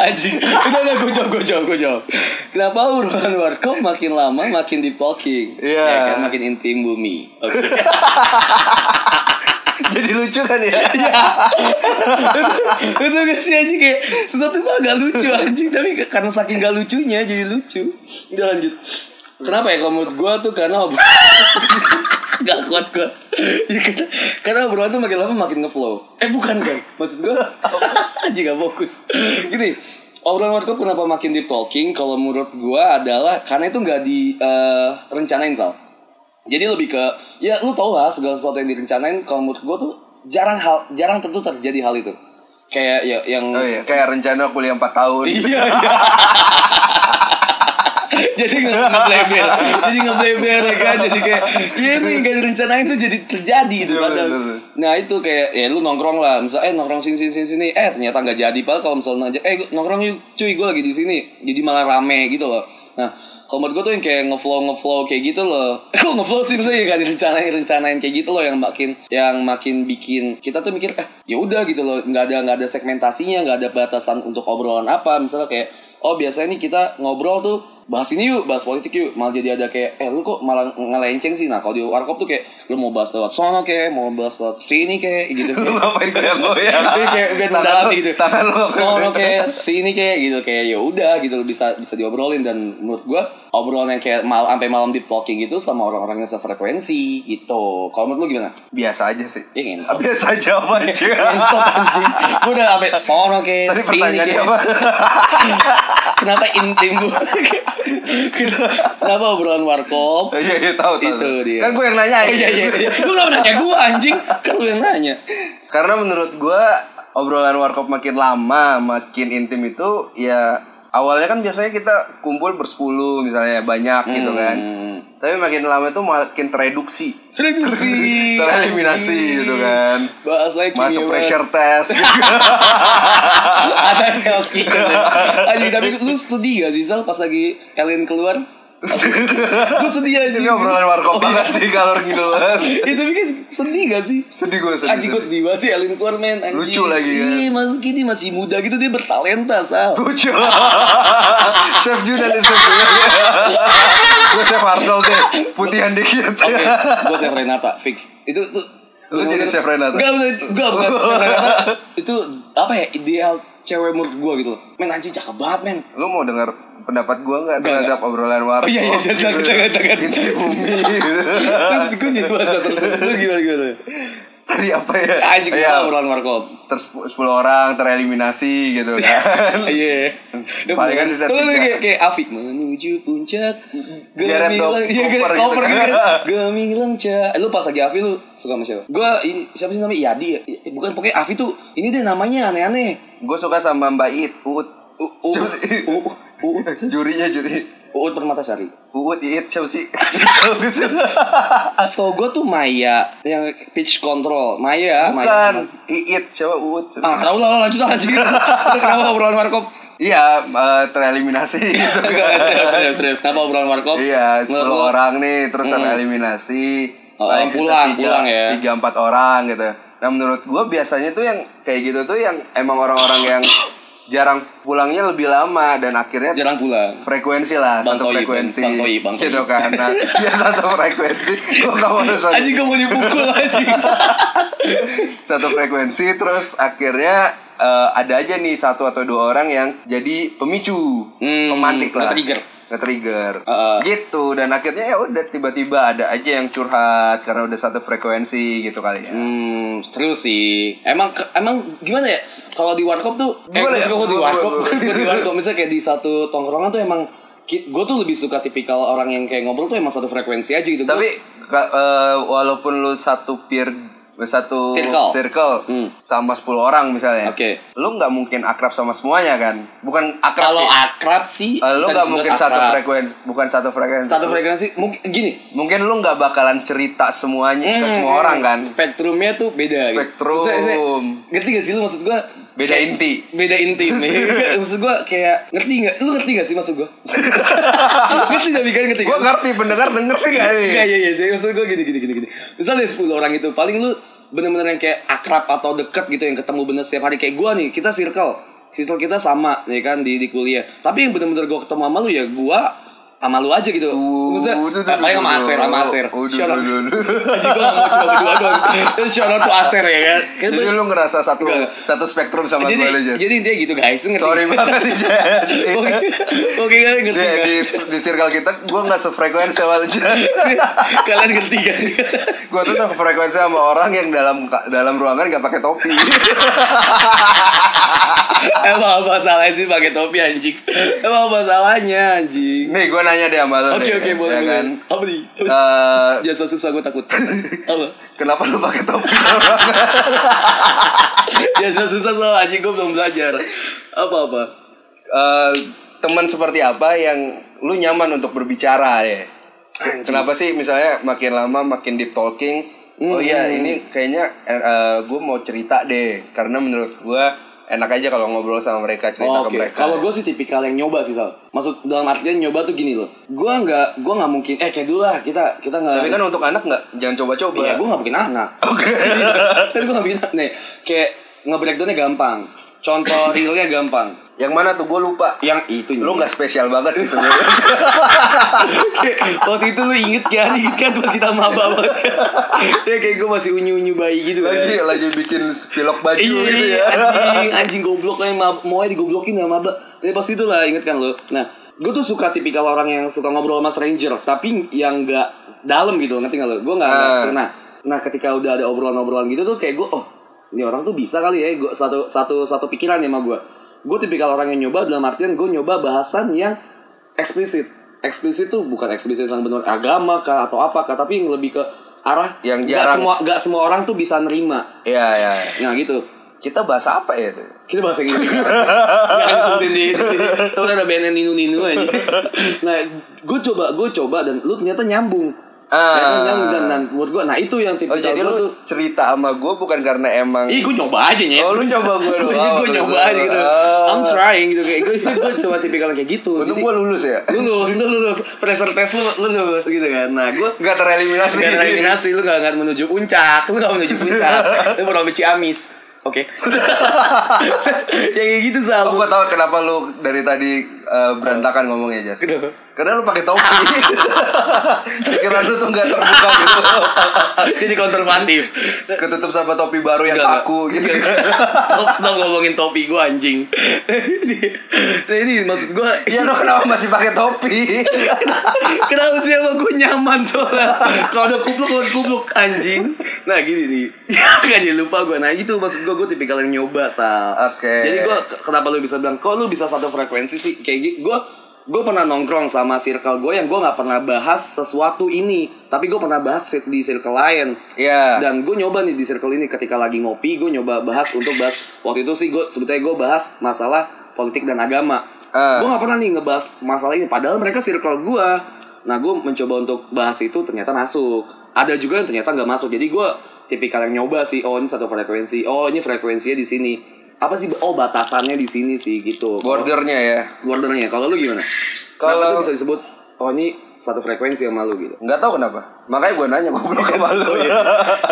[SPEAKER 3] Anjing. Udah udah gue jawab, gue jawab, gue jawab. Kenapa hubungan warkop makin lama makin deep talking?
[SPEAKER 1] Iya.
[SPEAKER 3] Ya kan makin intim bumi. Oke.
[SPEAKER 1] <laughs> Jadi lucu kan ya?
[SPEAKER 3] itu gak Iya. sih anjing kayak sesuatu mah gak lucu anjing tapi ke- karena saking gak lucunya jadi lucu udah lanjut kenapa ya kalau menurut gue tuh karena ob- gak kuat gue ya, karena, karena obrolan tuh makin lama makin ngeflow eh bukan kan maksud gue <laughs> anjing gak fokus gini obrolan warkop kenapa makin deep talking kalau menurut gue adalah karena itu gak direncanain sal jadi lebih ke ya lu tau lah segala sesuatu yang direncanain kalau menurut gue tuh jarang hal jarang tentu terjadi hal itu kayak ya yang
[SPEAKER 1] Oh iya, kayak rencana kuliah 4 tahun.
[SPEAKER 3] iya iya <laughs> jadi nge- ngebleber jadi ngebleber ya kan jadi kayak ya itu yang gak direncanain tuh jadi terjadi gitu
[SPEAKER 1] Iya,
[SPEAKER 3] padahal.
[SPEAKER 1] bener, bener.
[SPEAKER 3] nah itu kayak ya lu nongkrong lah misal eh nongkrong sini sini sini sini eh ternyata nggak jadi padahal kalau misalnya ngajak eh gua- nongkrong yuk cuy gue lagi di sini jadi malah rame gitu loh nah kalau menurut gue tuh yang kayak ngeflow ngeflow kayak gitu loh <laughs> kok ngeflow sih maksudnya ya gak direncanain rencanain kayak gitu loh yang makin yang makin bikin kita tuh mikir eh ya udah gitu loh nggak ada nggak ada segmentasinya nggak ada batasan untuk obrolan apa misalnya kayak oh biasanya nih kita ngobrol tuh bahas ini yuk bahas politik yuk malah jadi ada kayak eh lu kok malah ngelenceng sih nah kalau di warkop tuh kayak lu mau bahas lewat sono kayak mau bahas lewat sini kayak gitu
[SPEAKER 1] Lu ngapain goyang-goyang?
[SPEAKER 3] Jadi kayak udah
[SPEAKER 1] Tangan
[SPEAKER 3] mendalam
[SPEAKER 1] lu-
[SPEAKER 3] gitu
[SPEAKER 1] Tangan lu gitu.
[SPEAKER 3] sono kayak sini kayak gitu kayak ya udah gitu bisa bisa diobrolin dan menurut gua obrolan yang kayak mal sampai malam deep talking gitu sama orang-orang yang sefrekuensi gitu kalau menurut lu gimana
[SPEAKER 1] Biasa aja
[SPEAKER 3] <laughs>
[SPEAKER 1] sih.
[SPEAKER 3] Ya, ngentot.
[SPEAKER 1] Biasa aja apa <laughs> aja.
[SPEAKER 3] Ngentot, anjing Gua udah sampai sono kayak
[SPEAKER 1] Tadi
[SPEAKER 3] sini
[SPEAKER 1] pertanyaannya
[SPEAKER 3] kayak
[SPEAKER 1] apa?
[SPEAKER 3] kenapa intim gua kenapa obrolan warkop
[SPEAKER 1] Iya, iya, tahu tahu.
[SPEAKER 3] Itu dia.
[SPEAKER 1] Kan gue yang nanya.
[SPEAKER 3] Oh, iya iya iya. Lu gak nanya gue anjing Kan lu yang nanya
[SPEAKER 1] Karena menurut gue obrolan warkop makin lama, makin intim itu ya awalnya kan biasanya kita kumpul bersepuluh misalnya banyak gitu
[SPEAKER 3] Hmm.
[SPEAKER 1] kan. Tapi makin lama itu makin tereduksi,
[SPEAKER 3] Reduksi
[SPEAKER 1] tereliminasi gitu kan.
[SPEAKER 3] Bahas lagi
[SPEAKER 1] Masuk
[SPEAKER 3] ya,
[SPEAKER 1] pressure
[SPEAKER 3] <laughs>
[SPEAKER 1] test.
[SPEAKER 3] Bang. <laughs> Ada Hell's Kitchen ya. Anjing tapi lu sedih gak sih Sal Pas lagi Ellen
[SPEAKER 1] <laughs>
[SPEAKER 3] keluar Lu sedih aja
[SPEAKER 1] Ini obrolan warkop banget sih kalau ngidul banget.
[SPEAKER 3] <laughs> Ya tapi kan sedih gak sih
[SPEAKER 1] Sedih gue sedih.
[SPEAKER 3] Anjing gue sedih banget sih Ellen keluar men anjing.
[SPEAKER 1] Lucu lagi, kan?
[SPEAKER 3] Iya masuk gini masih muda gitu Dia bertalenta Sal
[SPEAKER 1] Lucu. <laughs> Chef Junan nih Chef Gue Chef Hartol deh. Putihan dikit. <laughs>
[SPEAKER 3] Oke, gue Chef Renata, fix. Itu tuh.
[SPEAKER 1] Lu jadi Chef Renata?
[SPEAKER 3] Enggak, bener, enggak, bukan
[SPEAKER 1] <laughs>
[SPEAKER 3] Chef Renata. Itu apa ya, ideal cewek menurut gue gitu. Men, anjing cakep banget,
[SPEAKER 1] <laughs>
[SPEAKER 3] men.
[SPEAKER 1] Lu mau dengar pendapat gue nggak terhadap obrolan warkop?
[SPEAKER 3] Oh iya, iya, jangan,
[SPEAKER 1] gitu.
[SPEAKER 3] jangan, jangan.
[SPEAKER 1] Inti bumi. gitu.
[SPEAKER 3] gue jadi bahasa tersebut. Lu gimana, gimana?
[SPEAKER 1] Tadi apa ya?
[SPEAKER 3] Anjing,
[SPEAKER 1] Iya,
[SPEAKER 3] kita obrolan warkop.
[SPEAKER 1] Terus 10 orang tereliminasi gitu kan.
[SPEAKER 3] Iya.
[SPEAKER 1] Paling kan sisa
[SPEAKER 3] Kalau lu
[SPEAKER 1] tiga.
[SPEAKER 3] kayak kayak Afi menuju puncak.
[SPEAKER 1] Jared Dog
[SPEAKER 3] gemilang- Iya,
[SPEAKER 1] Cooper
[SPEAKER 3] Jared
[SPEAKER 1] gitu
[SPEAKER 3] Cooper
[SPEAKER 1] kan.
[SPEAKER 3] gitu.
[SPEAKER 1] <laughs>
[SPEAKER 3] Gemilang Ca. Eh, Lu pas lagi Afi lu suka sama siapa? Gue ini siapa sih namanya? Yadi ya. Eh, Bukan pokoknya Afi tuh ini deh namanya aneh-aneh.
[SPEAKER 1] Gue suka sama Mbak Iit. Uut.
[SPEAKER 3] U- U-
[SPEAKER 1] Siapa sih?
[SPEAKER 3] U- U-
[SPEAKER 1] <laughs>
[SPEAKER 3] Uut
[SPEAKER 1] Jurinya juri.
[SPEAKER 3] Uut Permatasari.
[SPEAKER 1] Uut Iit siapa
[SPEAKER 3] <laughs>
[SPEAKER 1] sih?
[SPEAKER 3] Atau gue tuh Maya yang pitch control. Maya,
[SPEAKER 1] Bukan.
[SPEAKER 3] Maya.
[SPEAKER 1] Iit siapa Uut? siapa?
[SPEAKER 3] Ah, tahu lah lanjut lah
[SPEAKER 1] <laughs>
[SPEAKER 3] anjing. Kenapa obrolan warkop?
[SPEAKER 1] Iya, eh, tereliminasi gitu.
[SPEAKER 3] Enggak, enggak, serius, serius, serius. Kenapa obrolan warkop?
[SPEAKER 1] Iya, 10
[SPEAKER 3] Menurut lu-
[SPEAKER 1] orang nih terus tereliminasi.
[SPEAKER 3] Oh,
[SPEAKER 1] Paling sisa
[SPEAKER 3] pulang,
[SPEAKER 1] tiga-
[SPEAKER 3] pulang ya.
[SPEAKER 1] Tiga empat orang gitu. Nah menurut gua biasanya tuh yang kayak gitu tuh yang emang orang-orang yang jarang pulangnya lebih lama dan akhirnya
[SPEAKER 3] Jarang pulang.
[SPEAKER 1] frekuensi lah
[SPEAKER 3] Bang
[SPEAKER 1] satu
[SPEAKER 3] Toib,
[SPEAKER 1] frekuensi
[SPEAKER 3] Bang Toib, Bang Toib.
[SPEAKER 1] gitu kan nah, <laughs> ya satu frekuensi Gua nggak mau satu,
[SPEAKER 3] Anjing gue mau dipukul anjing.
[SPEAKER 1] satu frekuensi terus akhirnya eh, ada aja nih satu atau dua orang yang jadi pemicu
[SPEAKER 3] Hmm,
[SPEAKER 1] pemantik lah
[SPEAKER 3] nge-trigger.
[SPEAKER 1] nge-trigger
[SPEAKER 3] Heeh.
[SPEAKER 1] gitu dan akhirnya ya udah tiba-tiba ada aja yang curhat karena udah satu frekuensi gitu kali ya
[SPEAKER 3] Hmm, seru sih. Emang emang gimana ya? Kalau di warkop tuh, eh,
[SPEAKER 1] Gimana
[SPEAKER 3] gue
[SPEAKER 1] ya?
[SPEAKER 3] suka gua di
[SPEAKER 1] Gua-
[SPEAKER 3] warkop, <laughs>
[SPEAKER 1] gua- gua-
[SPEAKER 3] gue di
[SPEAKER 1] <laughs>
[SPEAKER 3] warkop. Misalnya kayak di satu tongkrongan tuh emang gue tuh lebih suka tipikal orang yang kayak ngobrol tuh emang satu frekuensi aja gitu. Gua-
[SPEAKER 1] tapi ka- eh, walaupun lu satu peer satu
[SPEAKER 3] Circle. Hmm.
[SPEAKER 1] sama 10 orang misalnya
[SPEAKER 3] Oke.
[SPEAKER 1] lu nggak mungkin akrab sama semuanya kan bukan akrab
[SPEAKER 3] kalau
[SPEAKER 1] sih.
[SPEAKER 3] akrab sih,
[SPEAKER 1] Eh, lu nggak
[SPEAKER 3] bisa disebut
[SPEAKER 1] mungkin
[SPEAKER 3] akrab.
[SPEAKER 1] satu frekuensi bukan satu frekuensi
[SPEAKER 3] Satu frekuensi, mungkin gini. Hmm,
[SPEAKER 1] mungkin lu nggak bakalan cerita semuanya ke semua orang kan
[SPEAKER 3] Spektrumnya tuh beda. gitu.
[SPEAKER 1] Spektrum.
[SPEAKER 3] Maksudnya- maksudnya, Ngerti gak sih lu maksud gue?
[SPEAKER 1] beda inti
[SPEAKER 3] beda intim
[SPEAKER 1] <laughs>
[SPEAKER 3] ya. maksud gue kayak ngerti nggak lu ngerti nggak sih maksud gue ngerti tapi kan ngerti
[SPEAKER 1] gue ngerti pendengar denger ya. gak nih
[SPEAKER 3] Iya iya iya, saya maksud gue gini gini gini gini. Misalnya 10 orang itu paling lu bener-bener yang kayak akrab atau deket gitu yang ketemu bener setiap hari kayak gua nih, kita circle. circle kita sama ya kan di di kuliah tapi yang bener-bener gue ketemu sama lu ya gue sama lu aja gitu
[SPEAKER 1] Uhuh,
[SPEAKER 3] Maksudnya,
[SPEAKER 1] Waduh,
[SPEAKER 3] eh, paling sama
[SPEAKER 1] waduh,
[SPEAKER 3] Aser sama Aser
[SPEAKER 1] waduh,
[SPEAKER 3] shout out
[SPEAKER 1] waduh, waduh.
[SPEAKER 3] Anjing, gua nggak mau coba berdua doang
[SPEAKER 1] <laughs>
[SPEAKER 3] shout out to Aser ya kan Kayaknya
[SPEAKER 1] Jadi
[SPEAKER 3] tuh-
[SPEAKER 1] lu ngerasa satu
[SPEAKER 3] Enggak.
[SPEAKER 1] satu spektrum sama
[SPEAKER 3] jadi
[SPEAKER 1] gue aja. Jess.
[SPEAKER 3] jadi dia gitu guys ngerti Oh, iya,
[SPEAKER 1] Sorry Iya, banget nih, Jess.
[SPEAKER 3] <laughs> oke oke kalian
[SPEAKER 1] Di,
[SPEAKER 3] ngerti
[SPEAKER 1] di,
[SPEAKER 3] kan
[SPEAKER 1] di circle kita gue gak sefrekuensi sama lu Jess.
[SPEAKER 3] <laughs> kalian ngerti kan
[SPEAKER 1] Gue tuh sefrekuensi sama orang yang dalam dalam ruangan gak pakai
[SPEAKER 3] <laughs>
[SPEAKER 1] topi
[SPEAKER 3] emang apa salahnya sih pakai topi anjing emang apa salahnya anjing
[SPEAKER 1] Nih gue nanya deh sama lu
[SPEAKER 3] Oke
[SPEAKER 1] deh,
[SPEAKER 3] oke
[SPEAKER 1] ya
[SPEAKER 3] boleh boleh.
[SPEAKER 1] kan?
[SPEAKER 3] Apa nih?
[SPEAKER 1] Eh,
[SPEAKER 3] Jasa susah gue takut. Apa?
[SPEAKER 1] Kenapa lu pakai topi?
[SPEAKER 3] Jasa susah soal anjing gue belum belajar. Apa apa?
[SPEAKER 1] Eh, teman seperti apa yang lu nyaman untuk berbicara ya? Kenapa sih misalnya makin lama makin deep talking? Oh iya
[SPEAKER 3] Hmm.
[SPEAKER 1] ini kayaknya gue mau cerita deh karena menurut gue enak aja kalau ngobrol sama mereka cerita
[SPEAKER 3] Oh,
[SPEAKER 1] ke
[SPEAKER 3] Oke,
[SPEAKER 1] mereka.
[SPEAKER 3] kalau gue sih tipikal yang nyoba sih Sal. Maksud dalam artian nyoba tuh gini loh. Gue nggak, gue nggak mungkin. Eh kayak dulu lah kita kita nggak.
[SPEAKER 1] tapi kan untuk anak nggak jangan coba-coba.
[SPEAKER 3] Iya, gue gak bikin anak. Oke. <laughs> Tapi gue gak bikin anak. Nih, kayak nge-breakdownnya gampang. Contoh realnya gampang.
[SPEAKER 1] Yang mana tuh gue lupa.
[SPEAKER 3] Yang itu.
[SPEAKER 1] Lu nggak spesial banget sih sebenarnya.
[SPEAKER 3] <laughs> Iya. Waktu itu lu inget kan? Inget kan pas kita maba banget kan? <laughs> ya kayak gue masih unyu-unyu bayi gitu kan.
[SPEAKER 1] lagi lagi bikin pilok baju
[SPEAKER 3] Iya,
[SPEAKER 1] gitu ya.
[SPEAKER 3] anjing, anjing goblok lah yang mab- mau digoblokin sama maba. Tapi pas itu lah inget kan lo. Nah, gue tuh suka tipikal orang yang suka ngobrol sama stranger, tapi yang gak dalam gitu, ngerti gak lo? Gue gak,
[SPEAKER 1] Ah.
[SPEAKER 3] nah, nah ketika udah ada obrolan-obrolan gitu tuh kayak gue, oh, ini orang tuh bisa kali ya, gua, satu satu satu pikiran ya sama gue. Gue tipikal orang yang nyoba dalam artian gue nyoba bahasan yang eksplisit. Eksplisit tuh bukan eksplisit yang benar agama kah atau apa kah, tapi yang lebih ke arah
[SPEAKER 1] Yang
[SPEAKER 3] nggak
[SPEAKER 1] jarang.
[SPEAKER 3] semua gak semua orang tuh bisa nerima.
[SPEAKER 1] Iya iya. iya.
[SPEAKER 3] Nah gitu
[SPEAKER 1] Kita bahas apa ya tuh?
[SPEAKER 3] kita
[SPEAKER 1] <laughs>
[SPEAKER 3] bahasa Inggris jangan sebutin di di sini Tau ada BNN ninu ninu aja nah gue coba gue coba dan lu ternyata nyambung
[SPEAKER 1] Ah.
[SPEAKER 3] Ternyata nyambung dan, dan menurut gue nah itu yang
[SPEAKER 1] Oh
[SPEAKER 3] tipikal
[SPEAKER 1] jadi
[SPEAKER 3] gua
[SPEAKER 1] lu
[SPEAKER 3] tuh
[SPEAKER 1] cerita sama gue bukan karena emang
[SPEAKER 3] Ih gue nyoba aja nyet
[SPEAKER 1] Oh, lu coba gua doang.
[SPEAKER 3] <laughs> Iya gue nyoba aja gitu
[SPEAKER 1] Ah.
[SPEAKER 3] I'm trying gitu kayak gue gue coba tipikal kayak gitu
[SPEAKER 1] Untung
[SPEAKER 3] Jadi,
[SPEAKER 1] gue lulus ya
[SPEAKER 3] lulus lu lulus pressure test lu lu lulus gitu kan nah gue
[SPEAKER 1] Gak tereliminasi
[SPEAKER 3] Gak ada eliminasi, lu gak akan menuju puncak Lu gak menuju puncak
[SPEAKER 1] <laughs>
[SPEAKER 3] Lu baru sampai Ciamis Oke Ya kayak gitu Sal
[SPEAKER 1] Oh gue tau kenapa lu dari tadi eh, berantakan ngomongnya Jas
[SPEAKER 3] Kenapa?
[SPEAKER 1] Karena lu
[SPEAKER 3] <laughs>
[SPEAKER 1] pakai topi Pikiran lu tuh gak terbuka gitu
[SPEAKER 3] Jadi konservatif
[SPEAKER 1] Ketutup sama topi baru yang
[SPEAKER 3] Enggak,
[SPEAKER 1] kaku
[SPEAKER 3] enggak.
[SPEAKER 1] gitu
[SPEAKER 3] Enggak, enggak. Stop stop ngomongin topi gue anjing Nah <laughs> ini maksud gue
[SPEAKER 1] Iya lu kenapa masih pakai topi
[SPEAKER 3] Kenapa sih emang gue nyaman soalnya Kalau ada kupluk, kalau ada kupluk anjing Nah gini <laughs> nih Gak jadi lupa gue Nah gitu maksud gue, gue tipikal yang nyoba Sal
[SPEAKER 1] Oke.
[SPEAKER 3] Jadi gue, kenapa lu bisa bilang Kok lu bisa satu frekuensi sih Kayak gitu Gue Gue pernah nongkrong sama circle gue yang gue nggak pernah bahas sesuatu ini, tapi gue pernah bahas di circle lain.
[SPEAKER 1] Iya
[SPEAKER 3] Dan gue nyoba nih di circle ini ketika lagi ngopi, gue nyoba bahas untuk bahas waktu itu sih gue sebetulnya gue bahas masalah politik dan agama.
[SPEAKER 1] Ah.
[SPEAKER 3] Gue gak pernah nih ngebahas masalah ini, padahal mereka circle gue. Nah gue mencoba untuk bahas itu ternyata masuk. Ada juga yang ternyata nggak masuk. Jadi gue tipikal yang nyoba sih. Oh ini satu frekuensi. Oh ini frekuensinya di sini. Apa sih? Oh batasannya di sini sih gitu. Kalau-
[SPEAKER 1] Bordernya ya
[SPEAKER 3] Bordernya. Kalau lu gimana?
[SPEAKER 1] Kalau-
[SPEAKER 3] Kalau itu bisa disebut oh ini satu frekuensi sama lu gitu.
[SPEAKER 1] Gak tau kenapa Makanya gue nanya goblok sama lu
[SPEAKER 3] Oh, iya.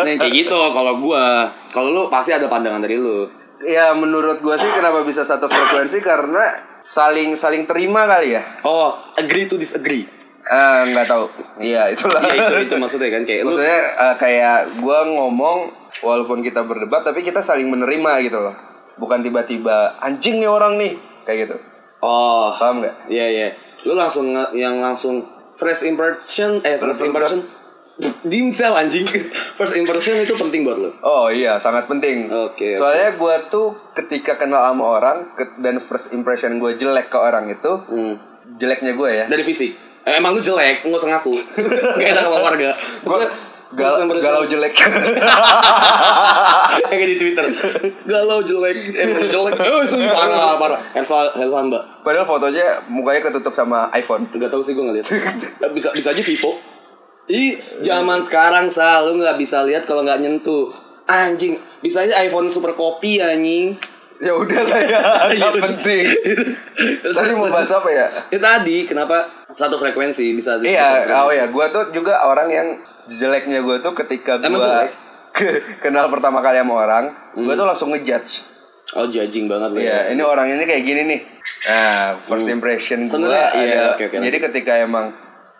[SPEAKER 3] Nah kayak gitu kalau gua kalau lu pasti ada pandangan dari lu
[SPEAKER 1] Ya menurut gue sih kenapa bisa satu frekuensi karena saling saling terima kali ya.
[SPEAKER 3] oh agree to disagree
[SPEAKER 1] Eh, nggak tahu. Iya itulah.
[SPEAKER 3] ya itu itu maksudnya kan kayak lu
[SPEAKER 1] Maksudnya eh, kayak gue ngomong walaupun kita berdebat tapi kita saling menerima gitu loh. Bukan tiba-tiba anjing nih orang nih kayak gitu.
[SPEAKER 3] oh
[SPEAKER 1] Paham nggak?
[SPEAKER 3] iya iya lu langsung nge- yang langsung first impression eh first impression dimsel anjing <laughs> first impression itu penting buat lu
[SPEAKER 1] Oh iya sangat penting.
[SPEAKER 3] Oke, oke.
[SPEAKER 1] Soalnya gue tuh ketika kenal sama orang ke- dan first impression gue jelek ke orang itu
[SPEAKER 3] hmm.
[SPEAKER 1] jeleknya gue ya.
[SPEAKER 3] dari fisik Eh, emang lu jelek nggak usah ngaku <laughs> gak enak sama warga
[SPEAKER 1] Gue
[SPEAKER 3] Maksudnya, first
[SPEAKER 1] gal-
[SPEAKER 3] impression-
[SPEAKER 1] galau jelek.
[SPEAKER 3] Yang <laughs> kayak di Twitter Galau jelek Emang jelek Eh sorry, parah parah Helsa Helsa mbak
[SPEAKER 1] Padahal fotonya mukanya ketutup sama iPhone.
[SPEAKER 3] Gak tau sih gue ngeliat Eh, Bisa bisa aja Vivo Ih zaman sekarang Sal Lu gak bisa lihat kalau gak nyentuh Anjing Bisa aja iPhone super kopi anjing
[SPEAKER 1] ya udah lah
[SPEAKER 3] <laughs>
[SPEAKER 1] ya nggak
[SPEAKER 3] Iya.
[SPEAKER 1] penting tadi mau bahas apa ya
[SPEAKER 3] Ya tadi kenapa satu frekuensi bisa bisa-
[SPEAKER 1] iya
[SPEAKER 3] bisa-
[SPEAKER 1] oh ya gue tuh juga orang yang jeleknya gue tuh ketika gue
[SPEAKER 4] <laughs>
[SPEAKER 3] Emang eh? jelek? Hmm.
[SPEAKER 1] kenal pertama kali sama orang gue tuh langsung ngejudge
[SPEAKER 3] Oh judging banget loh.
[SPEAKER 4] Iya, ini orang ini kayak gini nih. Nah, first impression gue
[SPEAKER 3] Hmm. Sebenarnya, iya, oke, oke.
[SPEAKER 4] Jadi ketika emang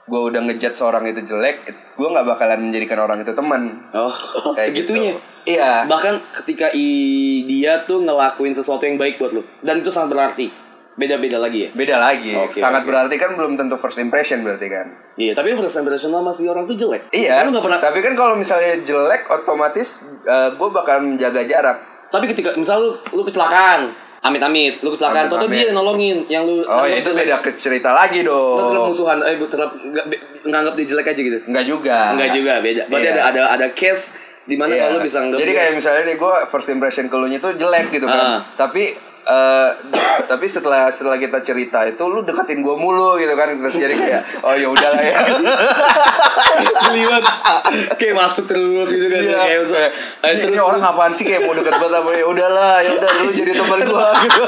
[SPEAKER 4] gue udah ngejat seorang itu jelek, gue nggak bakalan menjadikan orang itu teman.
[SPEAKER 3] Oh,
[SPEAKER 4] Kayak
[SPEAKER 3] segitunya.
[SPEAKER 4] gitu. Iya.
[SPEAKER 3] Bahkan ketika i- dia tuh ngelakuin sesuatu yang baik buat lu dan itu sangat berarti. Beda-beda lagi ya.
[SPEAKER 4] Beda lagi.
[SPEAKER 3] Oke,
[SPEAKER 4] Sangat
[SPEAKER 3] oke.
[SPEAKER 4] berarti kan belum tentu first impression berarti kan.
[SPEAKER 3] Iya, tapi first impression lama si orang tuh jelek.
[SPEAKER 4] Iya.
[SPEAKER 3] Kan lu gak pernah
[SPEAKER 4] Tapi kan kalau misalnya jelek, otomatis gue bakal menjaga jarak.
[SPEAKER 3] Tapi ketika misal lu lu kecelakaan, amit-amit, lu kecelakaan, atau
[SPEAKER 4] Amit-amit.
[SPEAKER 3] dia yang nolongin yang lu
[SPEAKER 4] Oh,
[SPEAKER 3] anggap
[SPEAKER 4] ya itu
[SPEAKER 3] jelek.
[SPEAKER 4] beda ke cerita lagi
[SPEAKER 3] iya, kan. Lu terhadap
[SPEAKER 4] dong.
[SPEAKER 3] musuhan, eh terhadap nggak- be- nganggap dia jelek aja gitu.
[SPEAKER 4] Enggak juga.
[SPEAKER 3] Enggak juga, beda. Berarti
[SPEAKER 4] Iya.
[SPEAKER 3] ada ada ada case di mana
[SPEAKER 4] Iya.
[SPEAKER 3] kalau lu bisa nganggap
[SPEAKER 4] Jadi
[SPEAKER 3] dia- <laughs>
[SPEAKER 4] kayak misalnya nih gue first impression ke lu nya tuh jelek gitu
[SPEAKER 3] Ah.
[SPEAKER 4] kan. Tapi eh, tapi setelah setelah kita cerita itu lu deketin gue mulu gitu kan terus jadi kayak oh ya udahlah ya
[SPEAKER 3] Keliwat Kayak masuk terus gitu kan
[SPEAKER 4] Iya.
[SPEAKER 3] Kayak masuk
[SPEAKER 4] Kayak,
[SPEAKER 3] Eh,
[SPEAKER 4] ini,
[SPEAKER 3] terus
[SPEAKER 4] ini orang apaan sih kayak mau deket banget apa ya udahlah ya udah lu jadi teman gue gitu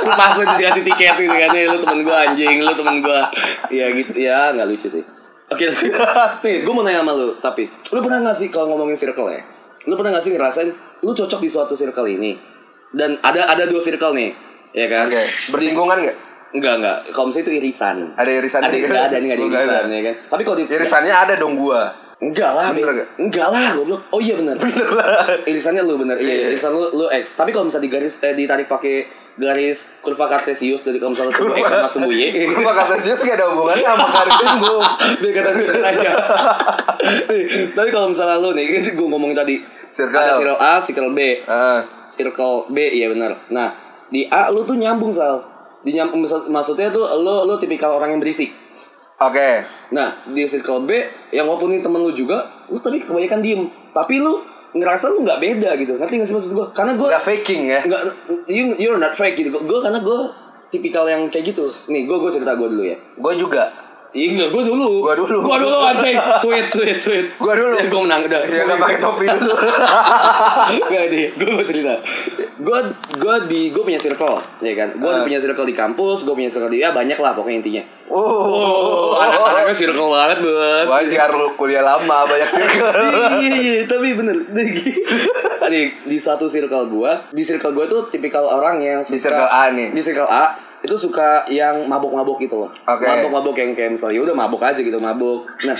[SPEAKER 3] lu masuk dikasih tiket gitu kan "Eh, Lu temen gua anjing Lu temen gua Ya gitu Ya gak lucu sih Oke
[SPEAKER 4] <laughs>
[SPEAKER 3] lanjut. Nih gue mau nanya sama lu Tapi Lu pernah gak sih kalau ngomongin circle ya Lu pernah gak sih ngerasain Lu cocok di suatu circle ini Dan ada ada dua circle nih Ya kan
[SPEAKER 4] oke bersinggungan nggak
[SPEAKER 3] Enggak enggak Kalau misalnya itu irisan
[SPEAKER 4] Ada irisan
[SPEAKER 3] Ada
[SPEAKER 4] juga?
[SPEAKER 3] enggak ada nih enggak ada
[SPEAKER 4] Enggak ada.
[SPEAKER 3] irisan ya kan Tapi kalau di
[SPEAKER 4] irisannya ada dong gue
[SPEAKER 3] Enggak lah, Be.
[SPEAKER 4] Bener gak?
[SPEAKER 3] Enggak lah, goblok. Oh iya bener. Bener lah. <laughs> Irisannya lu bener. Iya, iya, irisan lu lu X. Tapi kalau misalnya digaris eh ditarik pakai garis kurva kartesius dari kalau misalnya sumbu X sama sumbu
[SPEAKER 4] <laughs>
[SPEAKER 3] Y.
[SPEAKER 4] gue kata Zeus gak ada hubungannya
[SPEAKER 3] <laughs>
[SPEAKER 4] sama karir singgung
[SPEAKER 3] Dia kata bener
[SPEAKER 4] <laughs>
[SPEAKER 3] aja. Nih, Tapi kalau misalnya lu nih, gue ngomongin tadi
[SPEAKER 4] Circle.
[SPEAKER 3] ada circle A, circle B,
[SPEAKER 4] Ah.
[SPEAKER 3] circle B iya bener. Nah, di A lu tuh nyambung sal. Di nyam- maksud- maksudnya tuh lu lu tipikal orang yang berisik.
[SPEAKER 4] Oke,
[SPEAKER 3] Nah, di circle B yang walaupun ini temen lu juga, lu tapi kebanyakan diem. Tapi lu ngerasa lu nggak beda gitu. Ngerti nggak sih maksud gue? Karena gue
[SPEAKER 4] nggak faking ya.
[SPEAKER 3] nggak you, you're not fake gitu. Gue karena gue tipikal yang kayak gitu. Nih, gue gue cerita gue dulu ya.
[SPEAKER 4] Gue juga.
[SPEAKER 3] Iya, gue dulu.
[SPEAKER 4] Gua dulu.
[SPEAKER 3] Gue dulu anjay. Sweet, sweet, sweet.
[SPEAKER 4] Gua dulu.
[SPEAKER 3] gue menang udah.
[SPEAKER 4] Ya nggak pakai topi dulu.
[SPEAKER 3] Gak deh, gue mau cerita. Gue gue di gue punya circle, ya kan. Gue
[SPEAKER 4] Ah.
[SPEAKER 3] punya circle di kampus, gue punya circle di ya banyak lah pokoknya intinya.
[SPEAKER 4] Oh,
[SPEAKER 3] anak-anaknya circle banget bos.
[SPEAKER 4] wajar lu kuliah lama banyak circle.
[SPEAKER 3] iya iya iya, tapi bener di, di satu circle gua di circle gua tuh tipikal orang yang suka,
[SPEAKER 4] Di circle A nih.
[SPEAKER 3] di circle A itu suka yang mabuk-mabuk gitu loh
[SPEAKER 4] Oke.
[SPEAKER 3] mabuk-mabuk yang kayak misalnya udah mabuk aja gitu mabuk nah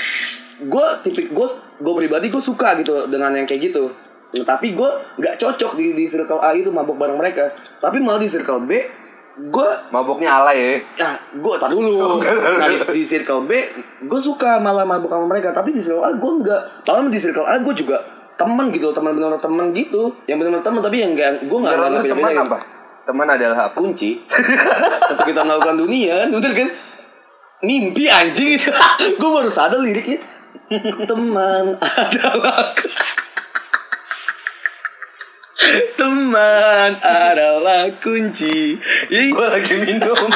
[SPEAKER 3] gua tipik gua gua pribadi gua suka gitu dengan yang kayak gitu Nah, tapi gua nggak cocok di, di circle A itu mabuk bareng mereka tapi malah di circle B gua
[SPEAKER 4] Mabuknya alay ya.
[SPEAKER 3] Nah, gue tak dulu. Nah, di, di circle B, gue suka malah mabuk sama mereka. Tapi di circle A, gue enggak. Padahal di circle A, gue juga temen gitu. Temen bener temen gitu. Yang bener-bener temen, tapi yang enggak. Gue enggak
[SPEAKER 4] Menurut lu teman
[SPEAKER 3] gitu.
[SPEAKER 4] apa? Teman adalah apa?
[SPEAKER 3] Kunci. <laughs> Untuk kita melakukan dunia, kan? bener kan? Mimpi anjing. <laughs> gue baru sadar liriknya. Teman <laughs> adalah Teman adalah kunci. Ya,
[SPEAKER 4] Gue lagi minum.
[SPEAKER 3] <laughs>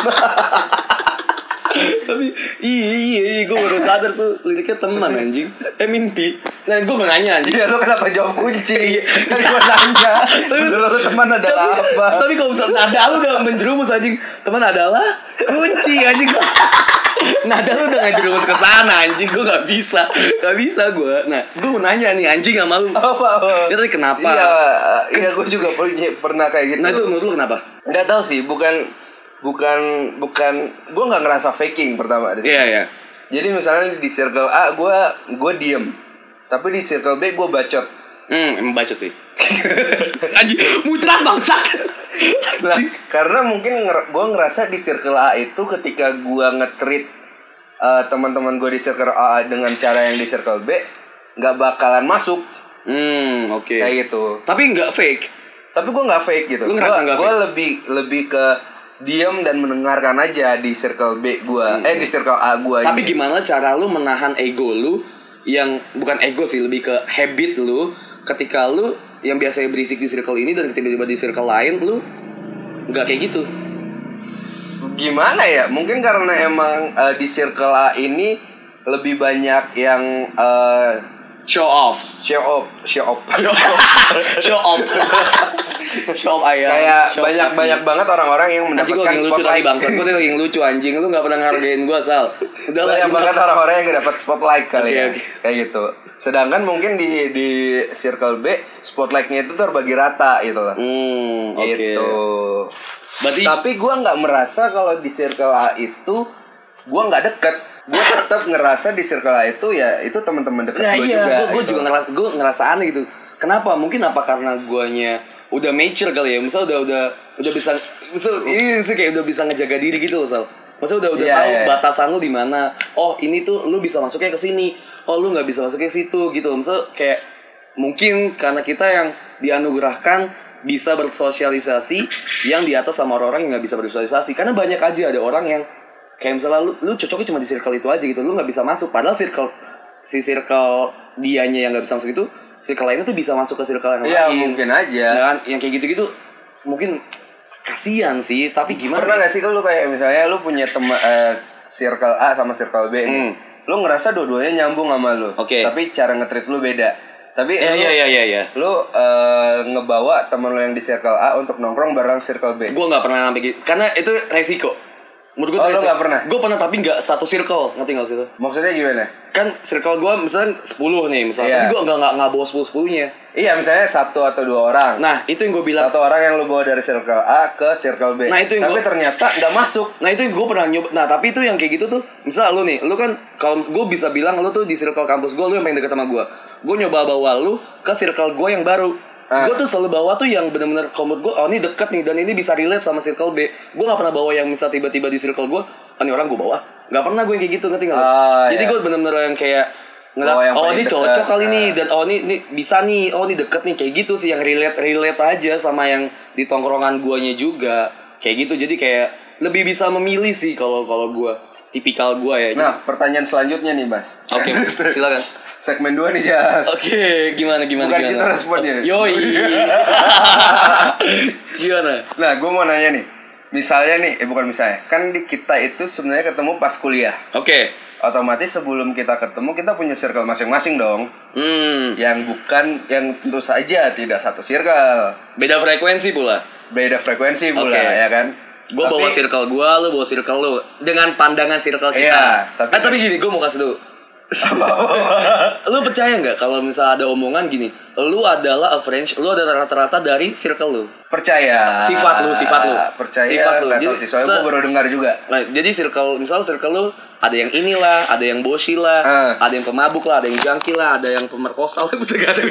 [SPEAKER 3] tapi iya iya iya gue baru sadar tuh liriknya teman anjing eh mimpi nah gue mau nanya anjing
[SPEAKER 4] Iya lu kenapa jawab kunci? Kan gue nanya. Menurut lu teman adalah
[SPEAKER 3] tapi,
[SPEAKER 4] apa?
[SPEAKER 3] tapi kalau misalnya nada lu udah menjerumus anjing teman adalah kunci anjing <laughs> nada lu udah ngejerumus ke sana anjing gue nggak bisa nggak bisa gue nah gue mau nanya nih anjing sama lu
[SPEAKER 4] Apa?
[SPEAKER 3] Ya, tapi kenapa
[SPEAKER 4] Iya, iya gue juga punya pernah kayak gitu.
[SPEAKER 3] nah itu menurut lu kenapa
[SPEAKER 4] nggak tahu sih, bukan bukan bukan gue nggak ngerasa faking pertama di
[SPEAKER 3] iya iya
[SPEAKER 4] Jadi misalnya di circle A gue gue diem, tapi di circle B gue bacot.
[SPEAKER 3] hmm emang bacot sih <laughs> anjing muteran bangsat
[SPEAKER 4] Nah, karena mungkin gue ngerasa di circle A itu ketika gue ngetrit eh, teman-teman gue di circle A dengan cara yang di circle B nggak bakalan masuk
[SPEAKER 3] hmm oke
[SPEAKER 4] kayak gitu.
[SPEAKER 3] tapi nggak fake
[SPEAKER 4] Tapi gue nggak fake gitu.
[SPEAKER 3] Lu ngerasa nggak
[SPEAKER 4] Gue lebih lebih ke diem dan mendengarkan aja di circle B gue, eh di circle A gue.
[SPEAKER 3] Hmm, iya. Tapi gimana cara lu menahan ego lu yang bukan ego sih lebih ke habit lu ketika lu yang biasanya berisik di circle ini dan tiba-tiba di circle lain lu nggak kayak gitu.
[SPEAKER 4] gimana ya mungkin karena emang eh, di circle A ini lebih banyak yang eh,
[SPEAKER 3] Show
[SPEAKER 4] <laughs>
[SPEAKER 3] off.
[SPEAKER 4] show off show off
[SPEAKER 3] Show off. show off ayam.
[SPEAKER 4] <laughs> kayak
[SPEAKER 3] Show off
[SPEAKER 4] banyak
[SPEAKER 3] sapi.
[SPEAKER 4] banyak banget orang-orang
[SPEAKER 3] Anjing
[SPEAKER 4] yang
[SPEAKER 3] gue
[SPEAKER 4] mendapatkan
[SPEAKER 3] yang lucu tadi
[SPEAKER 4] spotlight
[SPEAKER 3] bang, gue tadi yang lucu anjing, lu gak pernah ngargain gue sal. Udah lah,
[SPEAKER 4] banyak
[SPEAKER 3] gimana?
[SPEAKER 4] banget orang-orang yang dapat spotlight kali
[SPEAKER 3] Oke,
[SPEAKER 4] ya
[SPEAKER 3] oke.
[SPEAKER 4] kayak gitu Sedangkan mungkin di di circle B spotlightnya itu terbagi rata gitu loh.
[SPEAKER 3] Hmm, oke.
[SPEAKER 4] Gitu.
[SPEAKER 3] Berarti
[SPEAKER 4] Tapi gua nggak merasa kalau di circle A itu gua nggak deket. Gua tetap ngerasa di circle A itu ya itu teman-teman dekat
[SPEAKER 3] Nah
[SPEAKER 4] gua
[SPEAKER 3] iya,
[SPEAKER 4] juga.
[SPEAKER 3] gue juga,
[SPEAKER 4] gitu.
[SPEAKER 3] ngerasa, gue ngerasa aneh gitu. Kenapa? Mungkin apa karena guanya udah mature kali ya? Misal udah udah udah bisa, misal ini sih kayak udah bisa ngejaga diri gitu loh, Sal. Misal udah udah
[SPEAKER 4] Iya,
[SPEAKER 3] tahu
[SPEAKER 4] iya, iya.
[SPEAKER 3] batasan lu di mana. Oh ini tuh lu bisa masuknya ke sini. Oh lu nggak bisa masuknya ke situ gitu. Misal kayak mungkin karena kita yang dianugerahkan bisa bersosialisasi yang di atas sama orang-orang yang nggak bisa bersosialisasi karena banyak aja ada orang yang kayak misalnya lu, lu cocoknya cuma di circle itu aja gitu lu nggak bisa masuk padahal circle si circle dianya yang nggak bisa masuk itu circle lainnya tuh bisa masuk ke circle yang
[SPEAKER 4] Iya
[SPEAKER 3] lain
[SPEAKER 4] mungkin aja.
[SPEAKER 3] Ya kan? yang kayak gitu-gitu mungkin kasihan sih tapi gimana
[SPEAKER 4] Pernah gak sih kalau lu kayak misalnya lu punya teman eh, circle A sama circle B nih.
[SPEAKER 3] Hmm.
[SPEAKER 4] Lu ngerasa dua-duanya nyambung sama lu.
[SPEAKER 3] Oke.
[SPEAKER 4] Tapi cara nge-treat lu beda. Tapi
[SPEAKER 3] ya
[SPEAKER 4] lu,
[SPEAKER 3] ya ya ya ya
[SPEAKER 4] lu, eh, ngebawa teman lu yang di circle A untuk nongkrong bareng circle B.
[SPEAKER 3] gue nggak pernah sampai gitu karena itu resiko menurut gue
[SPEAKER 4] Oh, lu nggak pernah?
[SPEAKER 3] gue pernah tapi nggak satu circle ngerti nggak sih itu
[SPEAKER 4] Maksudnya gimana?
[SPEAKER 3] kan circle gue misalnya 10 nih misalnya
[SPEAKER 4] Iya.
[SPEAKER 3] tapi gue nggak nggak nggak bawa sepuluh sepuluhnya
[SPEAKER 4] Iya misalnya satu atau dua orang.
[SPEAKER 3] nah itu yang gue bilang
[SPEAKER 4] satu orang yang lu bawa dari circle A ke circle B.
[SPEAKER 3] Nah, itu yang
[SPEAKER 4] Tapi
[SPEAKER 3] gua-
[SPEAKER 4] ternyata nggak masuk.
[SPEAKER 3] Nah itu gue pernah nyoba. Nah tapi itu yang kayak gitu tuh, misal lu nih, lu kan kalau gue bisa bilang lu tuh di circle kampus gue, lu yang paling deket sama gue. Gue nyoba bawa lu ke circle gue yang baru.
[SPEAKER 4] Ah.
[SPEAKER 3] Gue tuh selalu bawa tuh yang bener-bener komod gue, oh ini deket nih dan ini bisa relate sama circle B. Gue gak pernah bawa yang misal tiba-tiba di circle gue, oh, ini orang gue bawa. Gak pernah gue yang kayak gitu ngerti gak? lu?
[SPEAKER 4] Ah,
[SPEAKER 3] Jadi
[SPEAKER 4] iya.
[SPEAKER 3] gue bener-bener yang kayak
[SPEAKER 4] Bawa
[SPEAKER 3] ngeliat,
[SPEAKER 4] yang
[SPEAKER 3] oh
[SPEAKER 4] paling
[SPEAKER 3] ini
[SPEAKER 4] deket,
[SPEAKER 3] cocok kali
[SPEAKER 4] ah.
[SPEAKER 3] nih dan oh ini, ini bisa nih, oh ini deket nih kayak gitu sih yang relate relate aja sama yang di tongkrongan guanya juga kayak gitu jadi kayak lebih bisa memilih sih kalau kalau gua tipikal gua ya. Jadi-
[SPEAKER 4] Nah pertanyaan selanjutnya nih Bas. <laughs>
[SPEAKER 3] Oke, silakan.
[SPEAKER 4] Segmen 2 nih Jas.
[SPEAKER 3] Oke, gimana gimana
[SPEAKER 4] Bukan
[SPEAKER 3] gimana?
[SPEAKER 4] kita responnya. <laughs>
[SPEAKER 3] Yoi. gimana?
[SPEAKER 4] Nah gue mau nanya nih. Misalnya nih, eh bukan misalnya, kan di kita itu sebenarnya ketemu pas kuliah.
[SPEAKER 3] Oke.
[SPEAKER 4] otomatis sebelum kita ketemu kita punya circle masing-masing dong
[SPEAKER 3] Hmm,
[SPEAKER 4] yang bukan yang tentu saja tidak satu circle
[SPEAKER 3] beda frekuensi pula.
[SPEAKER 4] beda frekuensi pula
[SPEAKER 3] Oke.
[SPEAKER 4] ya kan
[SPEAKER 3] Gue
[SPEAKER 4] Tapi-
[SPEAKER 3] bawa circle gue, lu bawa circle lu Dengan pandangan circle kita
[SPEAKER 4] Iya,
[SPEAKER 3] tapi,
[SPEAKER 4] tapi-
[SPEAKER 3] eh, tapi gini, gue mau kasih
[SPEAKER 4] <laughs>
[SPEAKER 3] dulu Lu percaya nggak kalau misalnya ada omongan gini Lu adalah average, lu adalah rata-rata dari circle lu
[SPEAKER 4] percaya
[SPEAKER 3] Sifat lu, sifat lu.
[SPEAKER 4] percaya
[SPEAKER 3] Sifat lu.
[SPEAKER 4] nggak tahu
[SPEAKER 3] Jadi,
[SPEAKER 4] sih soalnya
[SPEAKER 3] se-
[SPEAKER 4] gue baru dengar juga
[SPEAKER 3] Nah, jadi circle, misalnya circle lu ada yang inilah, ada yang bosi lah,
[SPEAKER 4] Ah.
[SPEAKER 3] ada yang pemabuk lah, ada yang jangki lah, ada yang pemerkosa lah, <laughs> bisa gak ada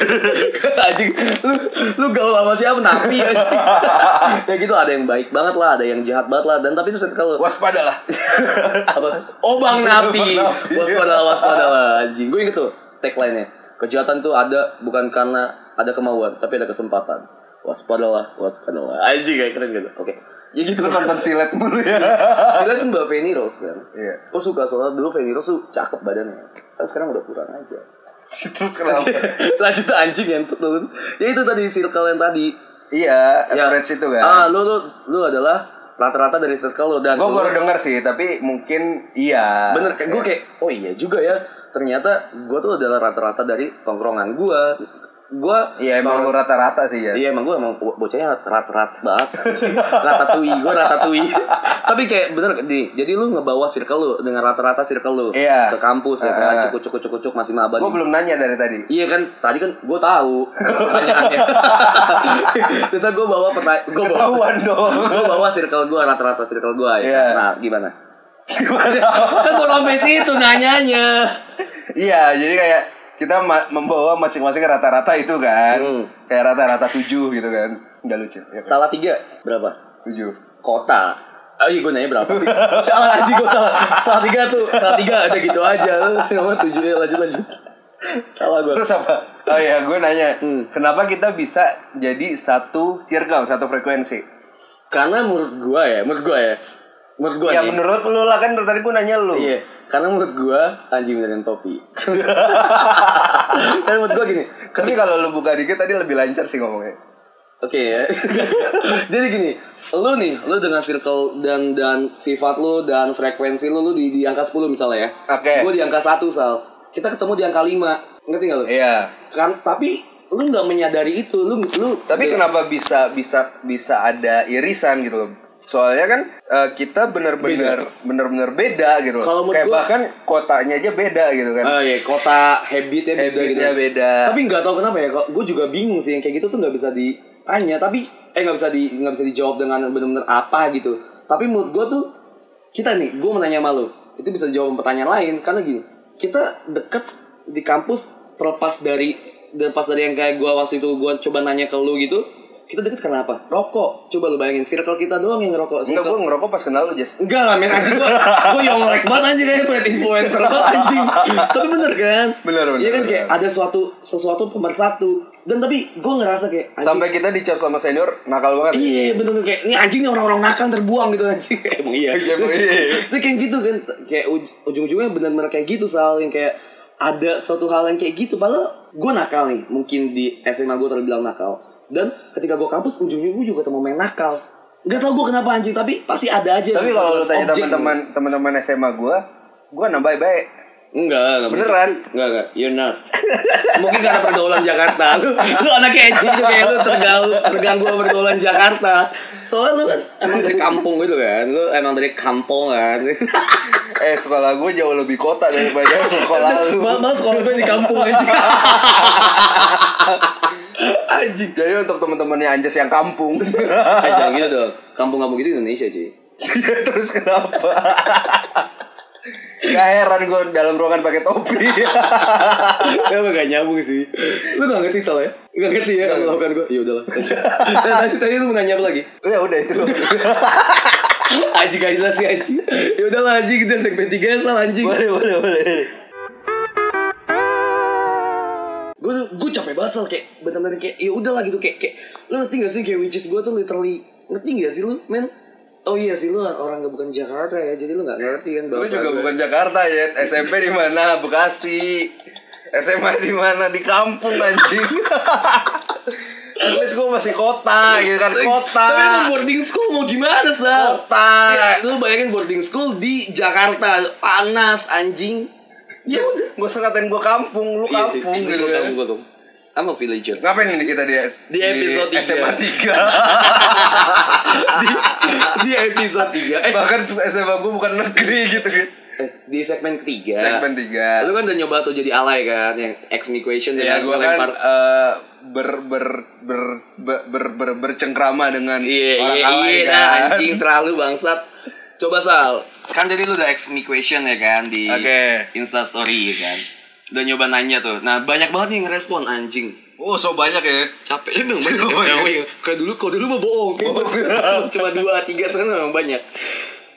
[SPEAKER 3] anjing. Lu lu gaul sama siapa? Napi
[SPEAKER 4] <laughs>
[SPEAKER 3] anjing. ya gitu ada yang baik banget lah, ada yang jahat banget lah dan tapi itu circle lu.
[SPEAKER 4] waspadalah
[SPEAKER 3] <laughs> apa? Oh Bang Napi.
[SPEAKER 4] Bang Napi.
[SPEAKER 3] Waspada lah, waspada lah anjing. Gue inget tuh tagline-nya. Kejahatan tuh ada bukan karena ada kemauan, tapi ada kesempatan. Waspada lah, waspada lah. Anjing kayak keren gitu. Oke. Ya gitu
[SPEAKER 4] nonton silet mulu ya
[SPEAKER 3] Sila kan Mbak Feni Rose kan.
[SPEAKER 4] Iya.
[SPEAKER 3] Gue suka soalnya dulu Feni Rose tuh cakep badannya. Saya sekarang udah kurang aja.
[SPEAKER 4] terus kenapa
[SPEAKER 3] <laughs> Lanjut anjing yang terus. Ya itu tadi circle yang tadi.
[SPEAKER 4] iya
[SPEAKER 3] Ya.
[SPEAKER 4] average itu kan
[SPEAKER 3] Ah, lu lu lu adalah rata-rata dari circle lu dan
[SPEAKER 4] gue
[SPEAKER 3] lu-
[SPEAKER 4] baru dengar sih tapi mungkin iya
[SPEAKER 3] bener kan gue kayak oh iya juga ya ternyata gue tuh adalah rata-rata dari tongkrongan gue gue
[SPEAKER 4] iya emang lu rata-rata sih ya
[SPEAKER 3] Iya emang gue emang bo- bocahnya rat-rat banget
[SPEAKER 4] <laughs>
[SPEAKER 3] anjing. Ratatouille, gue ratatouille Tapi kayak bener nih, jadi lu ngebawa circle lu dengan rata-rata circle lu
[SPEAKER 4] Iya.
[SPEAKER 3] Ke kampus ya
[SPEAKER 4] Ah,
[SPEAKER 3] kan,
[SPEAKER 4] ah.
[SPEAKER 3] cukup cukup cukup cukup masih maba
[SPEAKER 4] gue
[SPEAKER 3] nih.
[SPEAKER 4] belum nanya dari tadi
[SPEAKER 3] Iya kan, tadi kan gue tahu
[SPEAKER 4] <laughs>
[SPEAKER 3] pertanyaannya. Terus gue bawa pertanyaan, gue bawa,
[SPEAKER 4] ketahuan dong
[SPEAKER 3] gue bawa circle gue rata-rata circle gue ya.
[SPEAKER 4] Iya.
[SPEAKER 3] kan? Nah gimana? kan mau sampai situ nanyanya.
[SPEAKER 4] Iya, jadi kayak kita ma- membawa masing-masing rata-rata itu kan.
[SPEAKER 3] Hmm.
[SPEAKER 4] Kayak rata-rata tujuh gitu kan. Enggak lucu. Ya, kan?
[SPEAKER 3] Salah tiga berapa?
[SPEAKER 4] tujuh.
[SPEAKER 3] kota Oh iya gue nanya berapa sih? Salah anjing gue salah Salah tiga tuh Salah tiga ada gitu aja Lu Sama tujuhnya ya, lanjut lanjut Salah gue
[SPEAKER 4] Terus apa? Oh iya, gue nanya. Kenapa kita bisa jadi satu circle, satu frekuensi?
[SPEAKER 3] Karena menurut gue ya Menurut gue ya Menurut gue
[SPEAKER 4] Ya
[SPEAKER 3] nih
[SPEAKER 4] menurut lu lah kan dari tadi gue nanya lu.
[SPEAKER 3] Iya Karena menurut gue Anjing beneran topi Karena menurut gue gini
[SPEAKER 4] Tapi kalau lu buka dikit tadi lebih lancar sih ngomongnya.
[SPEAKER 3] Oke ya. Jadi gini, lu nih, lu dengan circle dan dan sifat lu dan frekuensi lu lu di, di angka 10 misalnya ya.
[SPEAKER 4] Oke.
[SPEAKER 3] Gue di angka 1, Sal. Kita ketemu di angka 5. Ngerti gak lu?
[SPEAKER 4] Iya.
[SPEAKER 3] Kan tapi lu nggak menyadari itu, lu lu
[SPEAKER 4] Tapi kenapa bisa bisa bisa ada irisan gitu loh? Soalnya kan eh, kita bener-bener bener-bener beda gitu. loh.
[SPEAKER 3] Kalau menurut
[SPEAKER 4] Kayak
[SPEAKER 3] gua-
[SPEAKER 4] bahkan kotanya aja beda gitu kan.
[SPEAKER 3] Oh iya, kota habitnya beda gitu.
[SPEAKER 4] Habitnya beda.
[SPEAKER 3] Tapi nggak tahu kenapa ya, gue juga bingung sih yang kayak gitu tuh nggak bisa ditanya, tapi eh nggak bisa di nggak bisa dijawab dengan benar-benar apa gitu. Tapi menurut gue tuh kita nih, gue menanya sama lo, itu bisa jawab pertanyaan lain karena gini, kita deket di kampus terlepas dari terlepas dari yang kayak gue waktu itu gue coba nanya ke lu gitu, kita deket karena apa? Rokok. Coba lu bayangin, circle kita doang yang ngerokok.
[SPEAKER 4] Enggak,
[SPEAKER 3] Circle-
[SPEAKER 4] gue ngerokok pas kenal lu, Jas.
[SPEAKER 3] Enggak lah men anjing gua Gua yongrek banget anjing kayak brand influencer banget anjing Tapi bener kan
[SPEAKER 4] Bener, bener,
[SPEAKER 3] Iya kan
[SPEAKER 4] bener.
[SPEAKER 3] kayak ada suatu Sesuatu pemersatu Dan tapi gua ngerasa kayak anjing,
[SPEAKER 4] Sampai kita dicap sama senior nakal banget.
[SPEAKER 3] Iya bener kayak Ini anjingnya orang-orang nakal terbuang gitu anjing Emang iya
[SPEAKER 4] Iya, <laughs> emang iya.
[SPEAKER 3] Itu kayak gitu kan Kayak uj- ujung-ujungnya bener-bener kayak gitu Sal Yang kayak ada suatu hal yang kayak gitu Padahal gua nakal nih Mungkin di SMA gua terbilang nakal Dan ketika gua kampus Ujung-ujungnya gua juga ketemu main nakal Gak tau gua kenapa anjing Tapi pasti ada aja gitu.
[SPEAKER 4] Tapi kalau lu tanya
[SPEAKER 3] objek.
[SPEAKER 4] teman-teman teman-teman SMA gue, gue nambah baik.
[SPEAKER 3] Enggak, enggak
[SPEAKER 4] Beneran?
[SPEAKER 3] Enggak, enggak. You're
[SPEAKER 4] <laughs>
[SPEAKER 3] not. Mungkin karena pergaulan Jakarta. Lu, lu anak edgy gitu kayak lu terganggu, terganggu sama pergaulan Jakarta. Soalnya lu kan emang dari kampung gitu kan. Lu emang dari kampung kan.
[SPEAKER 4] <laughs> Eh sekolah gue jauh lebih kota
[SPEAKER 3] <laughs>
[SPEAKER 4] daripada sekolah lu.
[SPEAKER 3] Mal mal sekolah gue di kampung
[SPEAKER 4] <laughs>
[SPEAKER 3] aja.
[SPEAKER 4] Anjing. Jadi untuk teman-temannya Anjas yang kampung. <laughs>
[SPEAKER 3] Eh, jangan gitu dong. Kampung-kampung gitu Indonesia sih.
[SPEAKER 4] Terus kenapa? Gak heran gue dalam ruangan pakai topi. <laughs>
[SPEAKER 3] Emang gak nyambung sih. Lu gak ngerti soalnya. Gak ngerti ya kalau lakukan gue. Ya udahlah. <laughs> Nah, tadi tadi lu mau nanya apa lagi?
[SPEAKER 4] ya udah itu doang.
[SPEAKER 3] <laughs> Aji gak jelas sih Aji. Ya udahlah Aji kita segmen 3 salah anjing.
[SPEAKER 4] boleh boleh boleh.
[SPEAKER 3] gue gue capek banget soal kayak bener-bener kayak ya udahlah gitu kayak kayak lu ngerti gak sih kayak which is gue tuh literally ngerti gak sih lu men oh iya sih lu orang gak bukan Jakarta ya jadi lu gak ngerti kan
[SPEAKER 4] Lu
[SPEAKER 3] bahasa
[SPEAKER 4] juga
[SPEAKER 3] gue.
[SPEAKER 4] bukan Jakarta ya. SMP di mana? Bekasi. SMA di mana? Di kampung anjing. At least gue masih kota gitu kan kota.
[SPEAKER 3] tapi lu ya boarding school mau gimana sal
[SPEAKER 4] Kota.
[SPEAKER 3] Ya, lu bayangin boarding school di Jakarta panas anjing
[SPEAKER 4] Ya udah, gak usah ngatain gue kampung, lu
[SPEAKER 3] Iya
[SPEAKER 4] kampung gitu kan.
[SPEAKER 3] gue kampung I'm a villager
[SPEAKER 4] Ngapain ini kita di, S-
[SPEAKER 3] Di episode tiga.
[SPEAKER 4] SMA 3
[SPEAKER 3] <laughs> di episode 3 eh,
[SPEAKER 4] Bahkan SMA gue bukan negeri gitu kan
[SPEAKER 3] eh, di segmen ketiga
[SPEAKER 4] Segmen 3
[SPEAKER 3] lu kan udah nyoba tuh jadi alay kan yang equation
[SPEAKER 4] Ya
[SPEAKER 3] dengan
[SPEAKER 4] gue kan eh, ber, ber, ber, ber, ber, ber, bercengkrama dengan
[SPEAKER 3] Iya,
[SPEAKER 4] orang
[SPEAKER 3] iya,
[SPEAKER 4] alay
[SPEAKER 3] iya, dah,
[SPEAKER 4] kan
[SPEAKER 3] anjing selalu bangsat. Coba Sal, kan tadi lu udah ask me question ya kan di
[SPEAKER 4] Oke.
[SPEAKER 3] Insta Story ya kan. Udah nyoba nanya tuh. Nah, banyak banget nih yang ngerespon anjing.
[SPEAKER 4] Oh so banyak ya
[SPEAKER 3] Capek emang <laughs> banyak. Emang banyak. Kayak dulu kok dulu mah bohong. Oh, iya. <laughs> Cuma- Cuma dua, tiga sekarang memang banyak.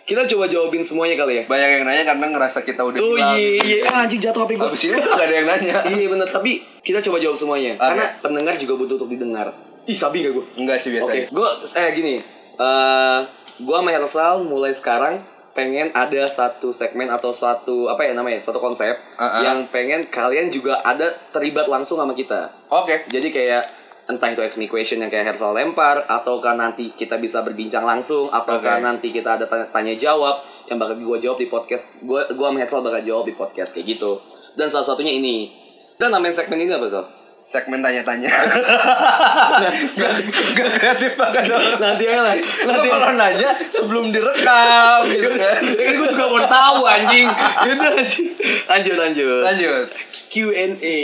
[SPEAKER 3] Kita coba jawabin semuanya kali ya.
[SPEAKER 4] Banyak yang nanya karena ngerasa kita udah
[SPEAKER 3] Oh
[SPEAKER 4] hilang
[SPEAKER 3] iya,
[SPEAKER 4] gitu.
[SPEAKER 3] iya, Ah, anjing jatuh HP gua.
[SPEAKER 4] Abis ini
[SPEAKER 3] <laughs>
[SPEAKER 4] gak ada yang nanya
[SPEAKER 3] Iya bener, tapi kita coba jawab semuanya.
[SPEAKER 4] Oke. Iya,
[SPEAKER 3] Karena pendengar juga butuh untuk didengar. Ih, sabi gak gue?
[SPEAKER 4] Enggak
[SPEAKER 3] Oke,
[SPEAKER 4] sih biasanya
[SPEAKER 3] gue eh gini, eh gue sama Hersal mulai sekarang pengen ada satu segmen atau satu apa ya namanya satu konsep
[SPEAKER 4] Uh-uh.
[SPEAKER 3] yang pengen kalian juga ada terlibat langsung sama kita.
[SPEAKER 4] Oke
[SPEAKER 3] Jadi kayak entah itu ask me question yang kayak Hersal lempar ataukah nanti kita bisa berbincang langsung ataukah
[SPEAKER 4] Oke.
[SPEAKER 3] nanti kita ada tanya, tanya jawab yang bakal gue jawab di podcast gue gue sama Hersal bakal jawab di podcast kayak gitu dan salah satunya ini kita namain segmen ini apa Sal?
[SPEAKER 4] Segmen
[SPEAKER 3] <laughs>
[SPEAKER 4] tanya-tanya Gak gak kreatif banget orang.
[SPEAKER 3] nanti aja lah
[SPEAKER 4] Lu
[SPEAKER 3] nanti
[SPEAKER 4] kalau nanya sebelum direkam gitu kan.
[SPEAKER 3] Ya kan gue juga baru tahu anjing. Yaudah anjing. Lanjut lanjut.
[SPEAKER 4] Lanjut.
[SPEAKER 3] Q&A.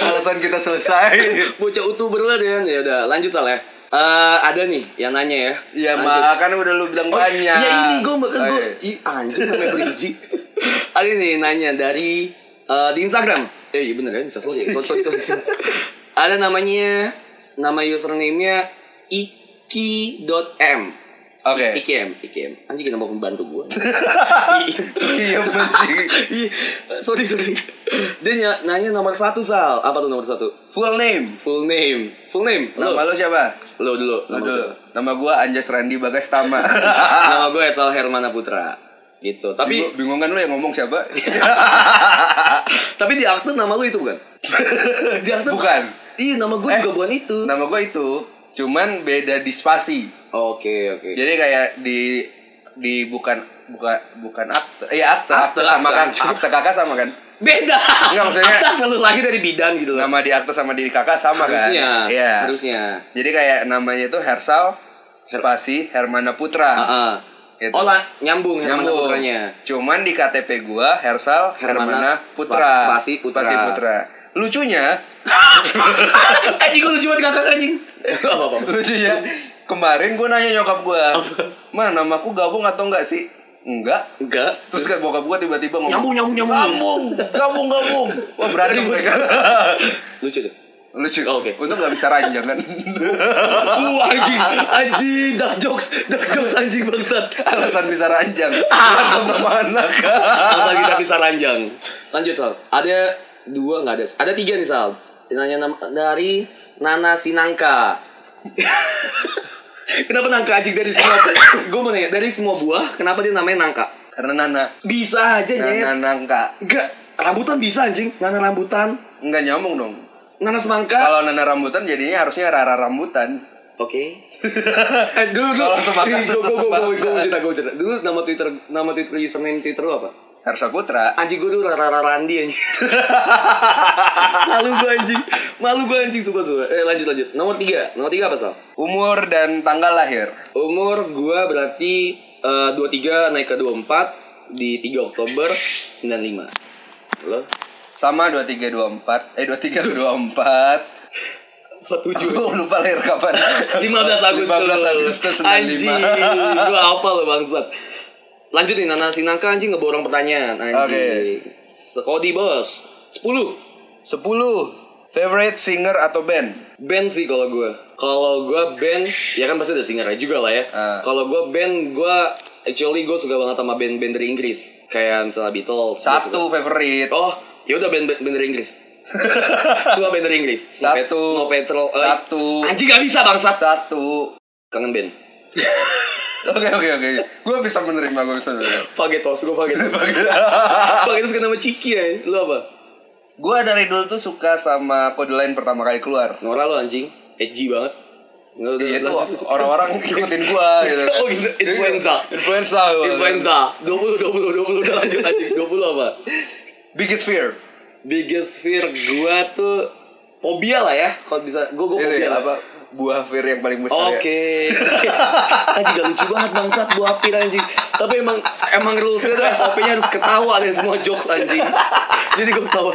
[SPEAKER 4] Alasan kita selesai.
[SPEAKER 3] <laughs> Bocah utuber lah Dan. Ya udah lanjut lah ya. Eh, ada nih yang nanya ya.
[SPEAKER 4] Iya,
[SPEAKER 3] Lanjut.
[SPEAKER 4] mah kan udah lu bilang
[SPEAKER 3] Oh,
[SPEAKER 4] banyak.
[SPEAKER 3] Ya ini gue makan gue.
[SPEAKER 4] Oke.
[SPEAKER 3] Ih, anjing namanya berhiji. <laughs> ada nih nanya dari eh, di Instagram. Eh iya bener kan bisa sorry sorry sorry. sorry, <laughs> sorry. ada namanya nama username-nya iki.m.
[SPEAKER 4] Oke.
[SPEAKER 3] IKM, IKM. Anjing nama pembantu gue.
[SPEAKER 4] Iya benci.
[SPEAKER 3] <laughs> Ih, sorry sorry dia ny- nanya nomor satu sal apa tuh nomor satu
[SPEAKER 4] Full name.
[SPEAKER 3] full name full name lo
[SPEAKER 4] Nama lu siapa?
[SPEAKER 3] lo dulu
[SPEAKER 4] Lu
[SPEAKER 3] nama,
[SPEAKER 4] dulu.
[SPEAKER 3] gua.
[SPEAKER 4] Nama gua Anjas Randi Bagastama.
[SPEAKER 3] <laughs> nama gue Etal Hermana Putra gitu tapi
[SPEAKER 4] Bingung- bingung kan lu yang ngomong siapa?
[SPEAKER 3] tapi di akte nama lu itu
[SPEAKER 4] <laughs>
[SPEAKER 3] bukan di akte
[SPEAKER 4] Bukan.
[SPEAKER 3] iya nama gue
[SPEAKER 4] Eh.
[SPEAKER 3] juga bukan itu
[SPEAKER 4] <laughs> Nama gua itu, cuman beda di spasi.
[SPEAKER 3] oke oke
[SPEAKER 4] Jadi kayak di di bukan bukan bukan akte. Iya akte,
[SPEAKER 3] Akte,
[SPEAKER 4] akte, sama
[SPEAKER 3] akte.
[SPEAKER 4] kan. Akte kakak sama kan?
[SPEAKER 3] beda
[SPEAKER 4] Enggak, maksudnya-
[SPEAKER 3] akte lu lahir dari bidan gitu loh
[SPEAKER 4] Nama di akte sama di kakak sama kan?
[SPEAKER 3] harusnya
[SPEAKER 4] Iya.
[SPEAKER 3] harusnya
[SPEAKER 4] Jadi kayak namanya itu Hersal spasi Hermana
[SPEAKER 3] Ah,
[SPEAKER 4] Putra.
[SPEAKER 5] Heeh.
[SPEAKER 4] Gitu.
[SPEAKER 5] Oh lah,
[SPEAKER 3] ya
[SPEAKER 5] nyambung Hermana
[SPEAKER 4] Nyambung. <laughs>
[SPEAKER 5] Putranya.
[SPEAKER 4] Cuman di KTP gua Hersal
[SPEAKER 5] Hermana
[SPEAKER 4] Hermana, Putra.
[SPEAKER 5] Spasi- spasi Putra.
[SPEAKER 4] Spasi Putra. Lucunya,
[SPEAKER 5] anjing gue lucu banget kakak anjing. Apa apa.
[SPEAKER 4] lucunya ya. kemarin gua nanya nyokap gua, "Ma, namaku gabung atau enggak sih?" Enggak.
[SPEAKER 5] Enggak.
[SPEAKER 4] Terus kan bokap gua tiba-tiba ngomong
[SPEAKER 3] Nyambung, nyambung, nyambung.
[SPEAKER 4] Nyambung Gabung gabung Wah berani mereka
[SPEAKER 5] Lucu tuh.
[SPEAKER 4] Lucu
[SPEAKER 5] Oh, oke.
[SPEAKER 4] Untung gak bisa ranjang kan
[SPEAKER 3] Uh, anjing, anjing, dark jokes, dark jokes anjing bangsat.
[SPEAKER 4] Alasan bisa ranjang Kemana
[SPEAKER 5] Asal kita bisa ranjang. Lanjut Sal. Ada dua nggak ada. Ada tiga nih Sal. Nanya nam- dari Nana Sinangka. kenapa nangka anjing dari semua? gue mau nanya dari semua buah kenapa dia namanya nangka?
[SPEAKER 4] Karena Nana
[SPEAKER 5] Bisa
[SPEAKER 3] Iya,
[SPEAKER 5] aja nyet.
[SPEAKER 4] Nana nangka
[SPEAKER 3] Enggak, rambutan bisa anjing, nana rambutan,
[SPEAKER 4] Enggak nyambung dong
[SPEAKER 3] nana semangka.
[SPEAKER 4] Kalau Nana rambutan jadinya harusnya Rara rambutan
[SPEAKER 5] Oke.
[SPEAKER 3] Eh, dulu dulu.
[SPEAKER 4] Kalau semangka,
[SPEAKER 3] Ih, gua- gua- gua- gua-
[SPEAKER 4] sesemangka.
[SPEAKER 3] gua cerita, gua cerita. Dulu nama Twitter, nama Twitter username Twitter lu apa?
[SPEAKER 4] Harsa Putra
[SPEAKER 3] Anjing gue tuh rara Randi <laughs> anjing. Malu gue anjing, malu gue anjing sumpah sumpah. Eh lanjut lanjut. Nomor tiga, nomor tiga apa Sal?
[SPEAKER 4] Umur dan tanggal lahir
[SPEAKER 3] Umur gua berarti eh, 23 naik ke 24 di 3 Oktober 95. Lo?
[SPEAKER 4] Sama 2324 Eh 2324
[SPEAKER 3] 47.
[SPEAKER 4] Gue <laughs> lupa lahir kapan
[SPEAKER 3] 15 Agustus.
[SPEAKER 4] 15 Agustus 95
[SPEAKER 3] Anjing, gua apa lo bangsat. Lanjut nih Nana Sinangka anjing ngeborong pertanyaan anjing. Sekodi bos. 10.
[SPEAKER 4] 10 Favorite singer atau band?
[SPEAKER 3] Band sih kalau gua. Kalau gua band, ya kan pasti ada singer juga lah ya.
[SPEAKER 4] Ah.
[SPEAKER 3] Kalau gua band, gua actually gua suka banget sama band-band dari Inggris. Kayak misalnya Beatles. gua suka.
[SPEAKER 4] Satu favorite
[SPEAKER 3] Oh, ya udah band, band, band dari
[SPEAKER 4] <laughs>
[SPEAKER 3] Inggris. Semua band dari Inggris. Snow Pet-
[SPEAKER 4] Satu.
[SPEAKER 3] Snow Patrol. Eh,
[SPEAKER 4] Satu.
[SPEAKER 3] Anjing gak bisa bangsat.
[SPEAKER 4] Satu
[SPEAKER 3] Kangen band.
[SPEAKER 4] Oke oke oke Gue bisa menerima Gue bisa
[SPEAKER 3] <laughs>
[SPEAKER 4] menerima
[SPEAKER 3] Fagetos, gue
[SPEAKER 4] <laughs>
[SPEAKER 3] Fagetos. Fagetos kena nama Ciki ya. Lu apa?
[SPEAKER 4] Gue dari dulu tuh suka sama kode lain pertama kali keluar
[SPEAKER 3] Nora lu anjing. Edgy banget. Nggak, udah,
[SPEAKER 4] Iya itu
[SPEAKER 3] lanjut, lanjut. <laughs>
[SPEAKER 4] orang-orang ngikutin gue gitu
[SPEAKER 3] Oh, gitu. Influenza.
[SPEAKER 4] Influenza gua.
[SPEAKER 3] Influenza. 20, 20, 20. Udah lanjut anjing. 20 apa?
[SPEAKER 4] Biggest fear
[SPEAKER 3] Biggest fear gue tuh... Fobia lah ya. Kalau bisa. Gue gue
[SPEAKER 4] Itu
[SPEAKER 3] fobia
[SPEAKER 4] ya
[SPEAKER 3] lah.
[SPEAKER 4] apa Buah fear yang paling besar ya
[SPEAKER 3] Oke. Anjing gak lucu banget bangsat gua apir anjing. Tapi emang emang rulesnya tuh SOP-nya harus ketawa dari semua jokes anjing. Jadi gua ketawa.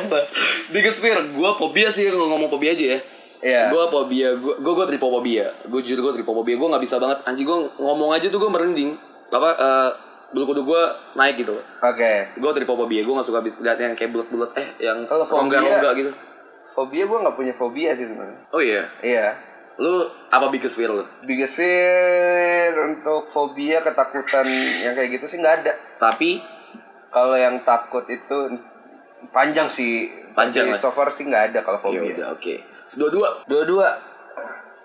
[SPEAKER 3] Biggest fear gua fobia sih kalau ngomong fobia aja ya.
[SPEAKER 4] Iya.
[SPEAKER 3] Gua fobia, gua gua, gua tripofobia. Gua jujur gua tripofobia. Gua nggak bisa banget anjing gua ngomong aja tuh gua merinding. Apa eh, bulu kuduk gua naik gitu.
[SPEAKER 4] Oke
[SPEAKER 3] Gua tripofobia. Gua nggak suka bis lihat yang kayak bulat-bulat eh yang
[SPEAKER 4] Kalau fobia-
[SPEAKER 3] rongga-rongga gitu.
[SPEAKER 4] Fobia gue gak punya fobia sih sebenarnya
[SPEAKER 3] Oh iya.
[SPEAKER 4] Iya
[SPEAKER 3] Lu apa biggest fear lu?
[SPEAKER 4] Biggest fear untuk fobia ketakutan yang kayak gitu sih nggak ada.
[SPEAKER 3] Tapi ya
[SPEAKER 4] Kalau yang takut itu panjang sih.
[SPEAKER 3] Panjang
[SPEAKER 4] Tapi
[SPEAKER 3] lah.
[SPEAKER 4] so far sih nggak ada kalau
[SPEAKER 3] ya
[SPEAKER 4] fobia.
[SPEAKER 3] udah oke. Dua-dua
[SPEAKER 4] Dua-dua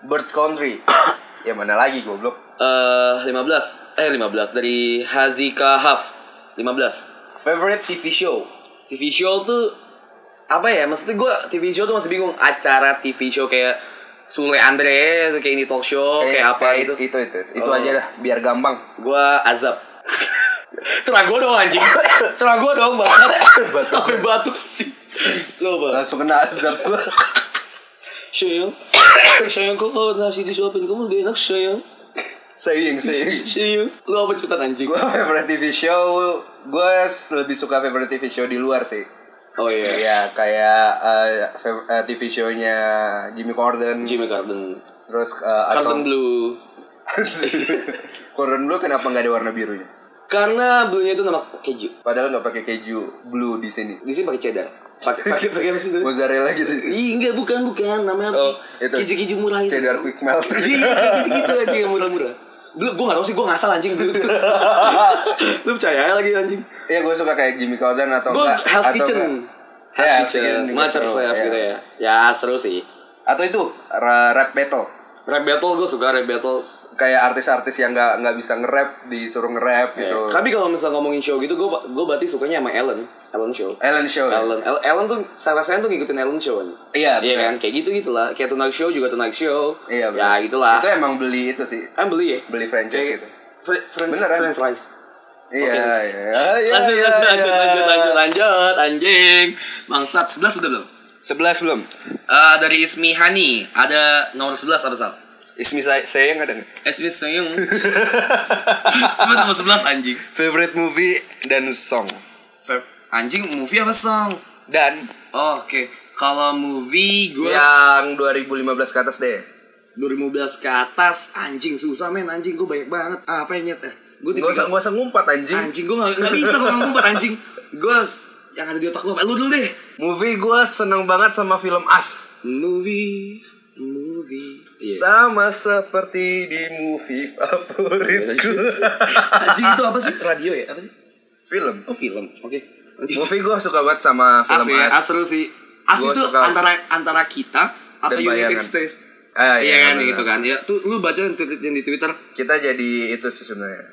[SPEAKER 4] bird
[SPEAKER 3] <coughs>
[SPEAKER 4] country. ya mana lagi goblok.
[SPEAKER 3] Eh, 15 eh 15 dari Hazika Haf 15
[SPEAKER 4] Favorite TV show.
[SPEAKER 3] TV show tuh apa ya maksudnya gue TV show tuh masih bingung acara TV show kayak Sule Andre kayak ini talk show kayak, apa
[SPEAKER 4] kayak
[SPEAKER 3] gitu
[SPEAKER 4] Eh, Itu itu itu,
[SPEAKER 3] Oh.
[SPEAKER 4] aja dah biar gampang.
[SPEAKER 3] gue azab serah gue dong
[SPEAKER 4] <laughs>
[SPEAKER 3] anjing serah gue dong bangsat tapi batuk anjing. lo apa
[SPEAKER 4] Langsung kena azab gua.
[SPEAKER 3] <laughs> <coughs> sayang sayang kok kalau nasi disuapin kamu lebih enak sayang
[SPEAKER 4] sayang
[SPEAKER 3] <laughs>
[SPEAKER 4] sayang.
[SPEAKER 3] sayang lo apa cerita anjing
[SPEAKER 4] Gua favorite TV show. Gua lebih suka favorite TV show di luar sih.
[SPEAKER 3] oh iya
[SPEAKER 4] Iya kayak eh, fav- eh, TV show-nya Jimmy Corden.
[SPEAKER 3] Jimmy Carden
[SPEAKER 4] Terus eh, atau <laughs>
[SPEAKER 3] Carden Blue
[SPEAKER 4] Corden Blue kenapa nggak ada warna birunya?
[SPEAKER 3] Karena blunya itu nama keju.
[SPEAKER 4] Padahal nggak pakai keju blue di sini.
[SPEAKER 3] Di sini pakai cheddar. Pakai pakai pakai apa sih itu?
[SPEAKER 4] Mozzarella gitu.
[SPEAKER 3] Ih, enggak bukan bukan namanya apa
[SPEAKER 4] Oh,
[SPEAKER 3] sih?
[SPEAKER 4] itu.
[SPEAKER 3] Keju-keju murah itu.
[SPEAKER 4] Cheddar quick melt.
[SPEAKER 3] <laughs> Iya, iya, gitu, gitu aja yang murah-murah. Belum, gue gak tau sih, gue ngasal
[SPEAKER 4] <laughs>
[SPEAKER 3] anjing dulu tuh. Lu percaya aja lagi anjing
[SPEAKER 4] <laughs> Iya gue suka kayak Jimmy Corden atau
[SPEAKER 3] Gue
[SPEAKER 4] enggak
[SPEAKER 3] Hell's
[SPEAKER 4] atau
[SPEAKER 3] Kitchen
[SPEAKER 4] nggak- Ya,
[SPEAKER 3] Hell's
[SPEAKER 4] Hell's Kitchen
[SPEAKER 3] Kitchen,
[SPEAKER 4] juga
[SPEAKER 3] Master
[SPEAKER 4] seru,
[SPEAKER 3] Chef
[SPEAKER 4] ya.
[SPEAKER 3] gitu ya Ya seru sih
[SPEAKER 4] Atau itu ra- rap battle.
[SPEAKER 3] Rap battle gue suka rap battle
[SPEAKER 4] Kayak artis-artis yang nggak nggak bisa nge-rap disuruh nge-rap gitu.
[SPEAKER 3] Ya. Tapi kalau misal ngomongin show gitu, gue gue berarti sukanya sama Ellen Ellen show
[SPEAKER 4] Ellen Show. ya?
[SPEAKER 3] Ellen, El- Ellen tuh saya rasain tuh ngikutin Ellen show kan.
[SPEAKER 4] Iya,
[SPEAKER 3] Iya
[SPEAKER 4] bener.
[SPEAKER 3] kan, kayak gitu gitulah. Kayak Tonight Show juga Tonight Show.
[SPEAKER 4] Iya.
[SPEAKER 3] Ya
[SPEAKER 4] bener.
[SPEAKER 3] gitulah.
[SPEAKER 4] Itu emang beli itu sih.
[SPEAKER 3] Kan beli ya?
[SPEAKER 4] Beli franchise
[SPEAKER 3] Kayak-
[SPEAKER 4] gitu.
[SPEAKER 3] Fr- fran-
[SPEAKER 4] Beneran.
[SPEAKER 3] French fries.
[SPEAKER 4] Iya, iya, iya.
[SPEAKER 3] Lanjut,
[SPEAKER 4] iya,
[SPEAKER 3] lanjut, lanjut,
[SPEAKER 4] iya.
[SPEAKER 3] lanjut, lanjut, lanjut, anjing. Bangsat, 11 udah belum?
[SPEAKER 4] 11 belum?
[SPEAKER 3] Eh dari Ismi Hani, ada nomor 11 apa, Sal?
[SPEAKER 4] Ismi saya, saya yang ada nih.
[SPEAKER 3] SBS <laughs> Soyong Cuma tambah 11 anjing
[SPEAKER 4] Favorite movie dan song.
[SPEAKER 3] Ver- Anjing movie apa song?
[SPEAKER 4] Dan
[SPEAKER 3] Oh, Oke Kalau movie gue
[SPEAKER 4] yang 2015 ke atas deh.
[SPEAKER 3] 2015 ke atas Anjing susah men Anjing gue banyak banget ah, Apa yang nyet eh Gue
[SPEAKER 4] Gak
[SPEAKER 3] tipikal
[SPEAKER 4] usah, gak usah ngumpat anjing.
[SPEAKER 3] Anjing gue gak, gak bisa kalau ngomong anjing Gue yang ada di otak gue Lu dulu deh
[SPEAKER 4] Movie gue seneng banget sama film As.
[SPEAKER 3] Movie Movie Iya.
[SPEAKER 4] Sama seperti di movie
[SPEAKER 3] Iya
[SPEAKER 4] favoritku.
[SPEAKER 3] Anjing itu apa sih? Radio ya? Apa sih?
[SPEAKER 4] <laughs> film.
[SPEAKER 3] Oh film Oke
[SPEAKER 4] Movie gue suka banget sama
[SPEAKER 3] As
[SPEAKER 4] film
[SPEAKER 3] ya,
[SPEAKER 4] As.
[SPEAKER 3] As seru sih. As
[SPEAKER 4] Gua
[SPEAKER 3] itu
[SPEAKER 4] suka.
[SPEAKER 3] antara antara kita atau
[SPEAKER 4] Dan
[SPEAKER 3] United
[SPEAKER 4] bayangan.
[SPEAKER 3] States.
[SPEAKER 4] Ah,
[SPEAKER 3] iya kan
[SPEAKER 4] benar.
[SPEAKER 3] gitu kan. Ya tuh lu baca yang tweet yang di Twitter
[SPEAKER 4] Kita jadi itu sih sebenarnya.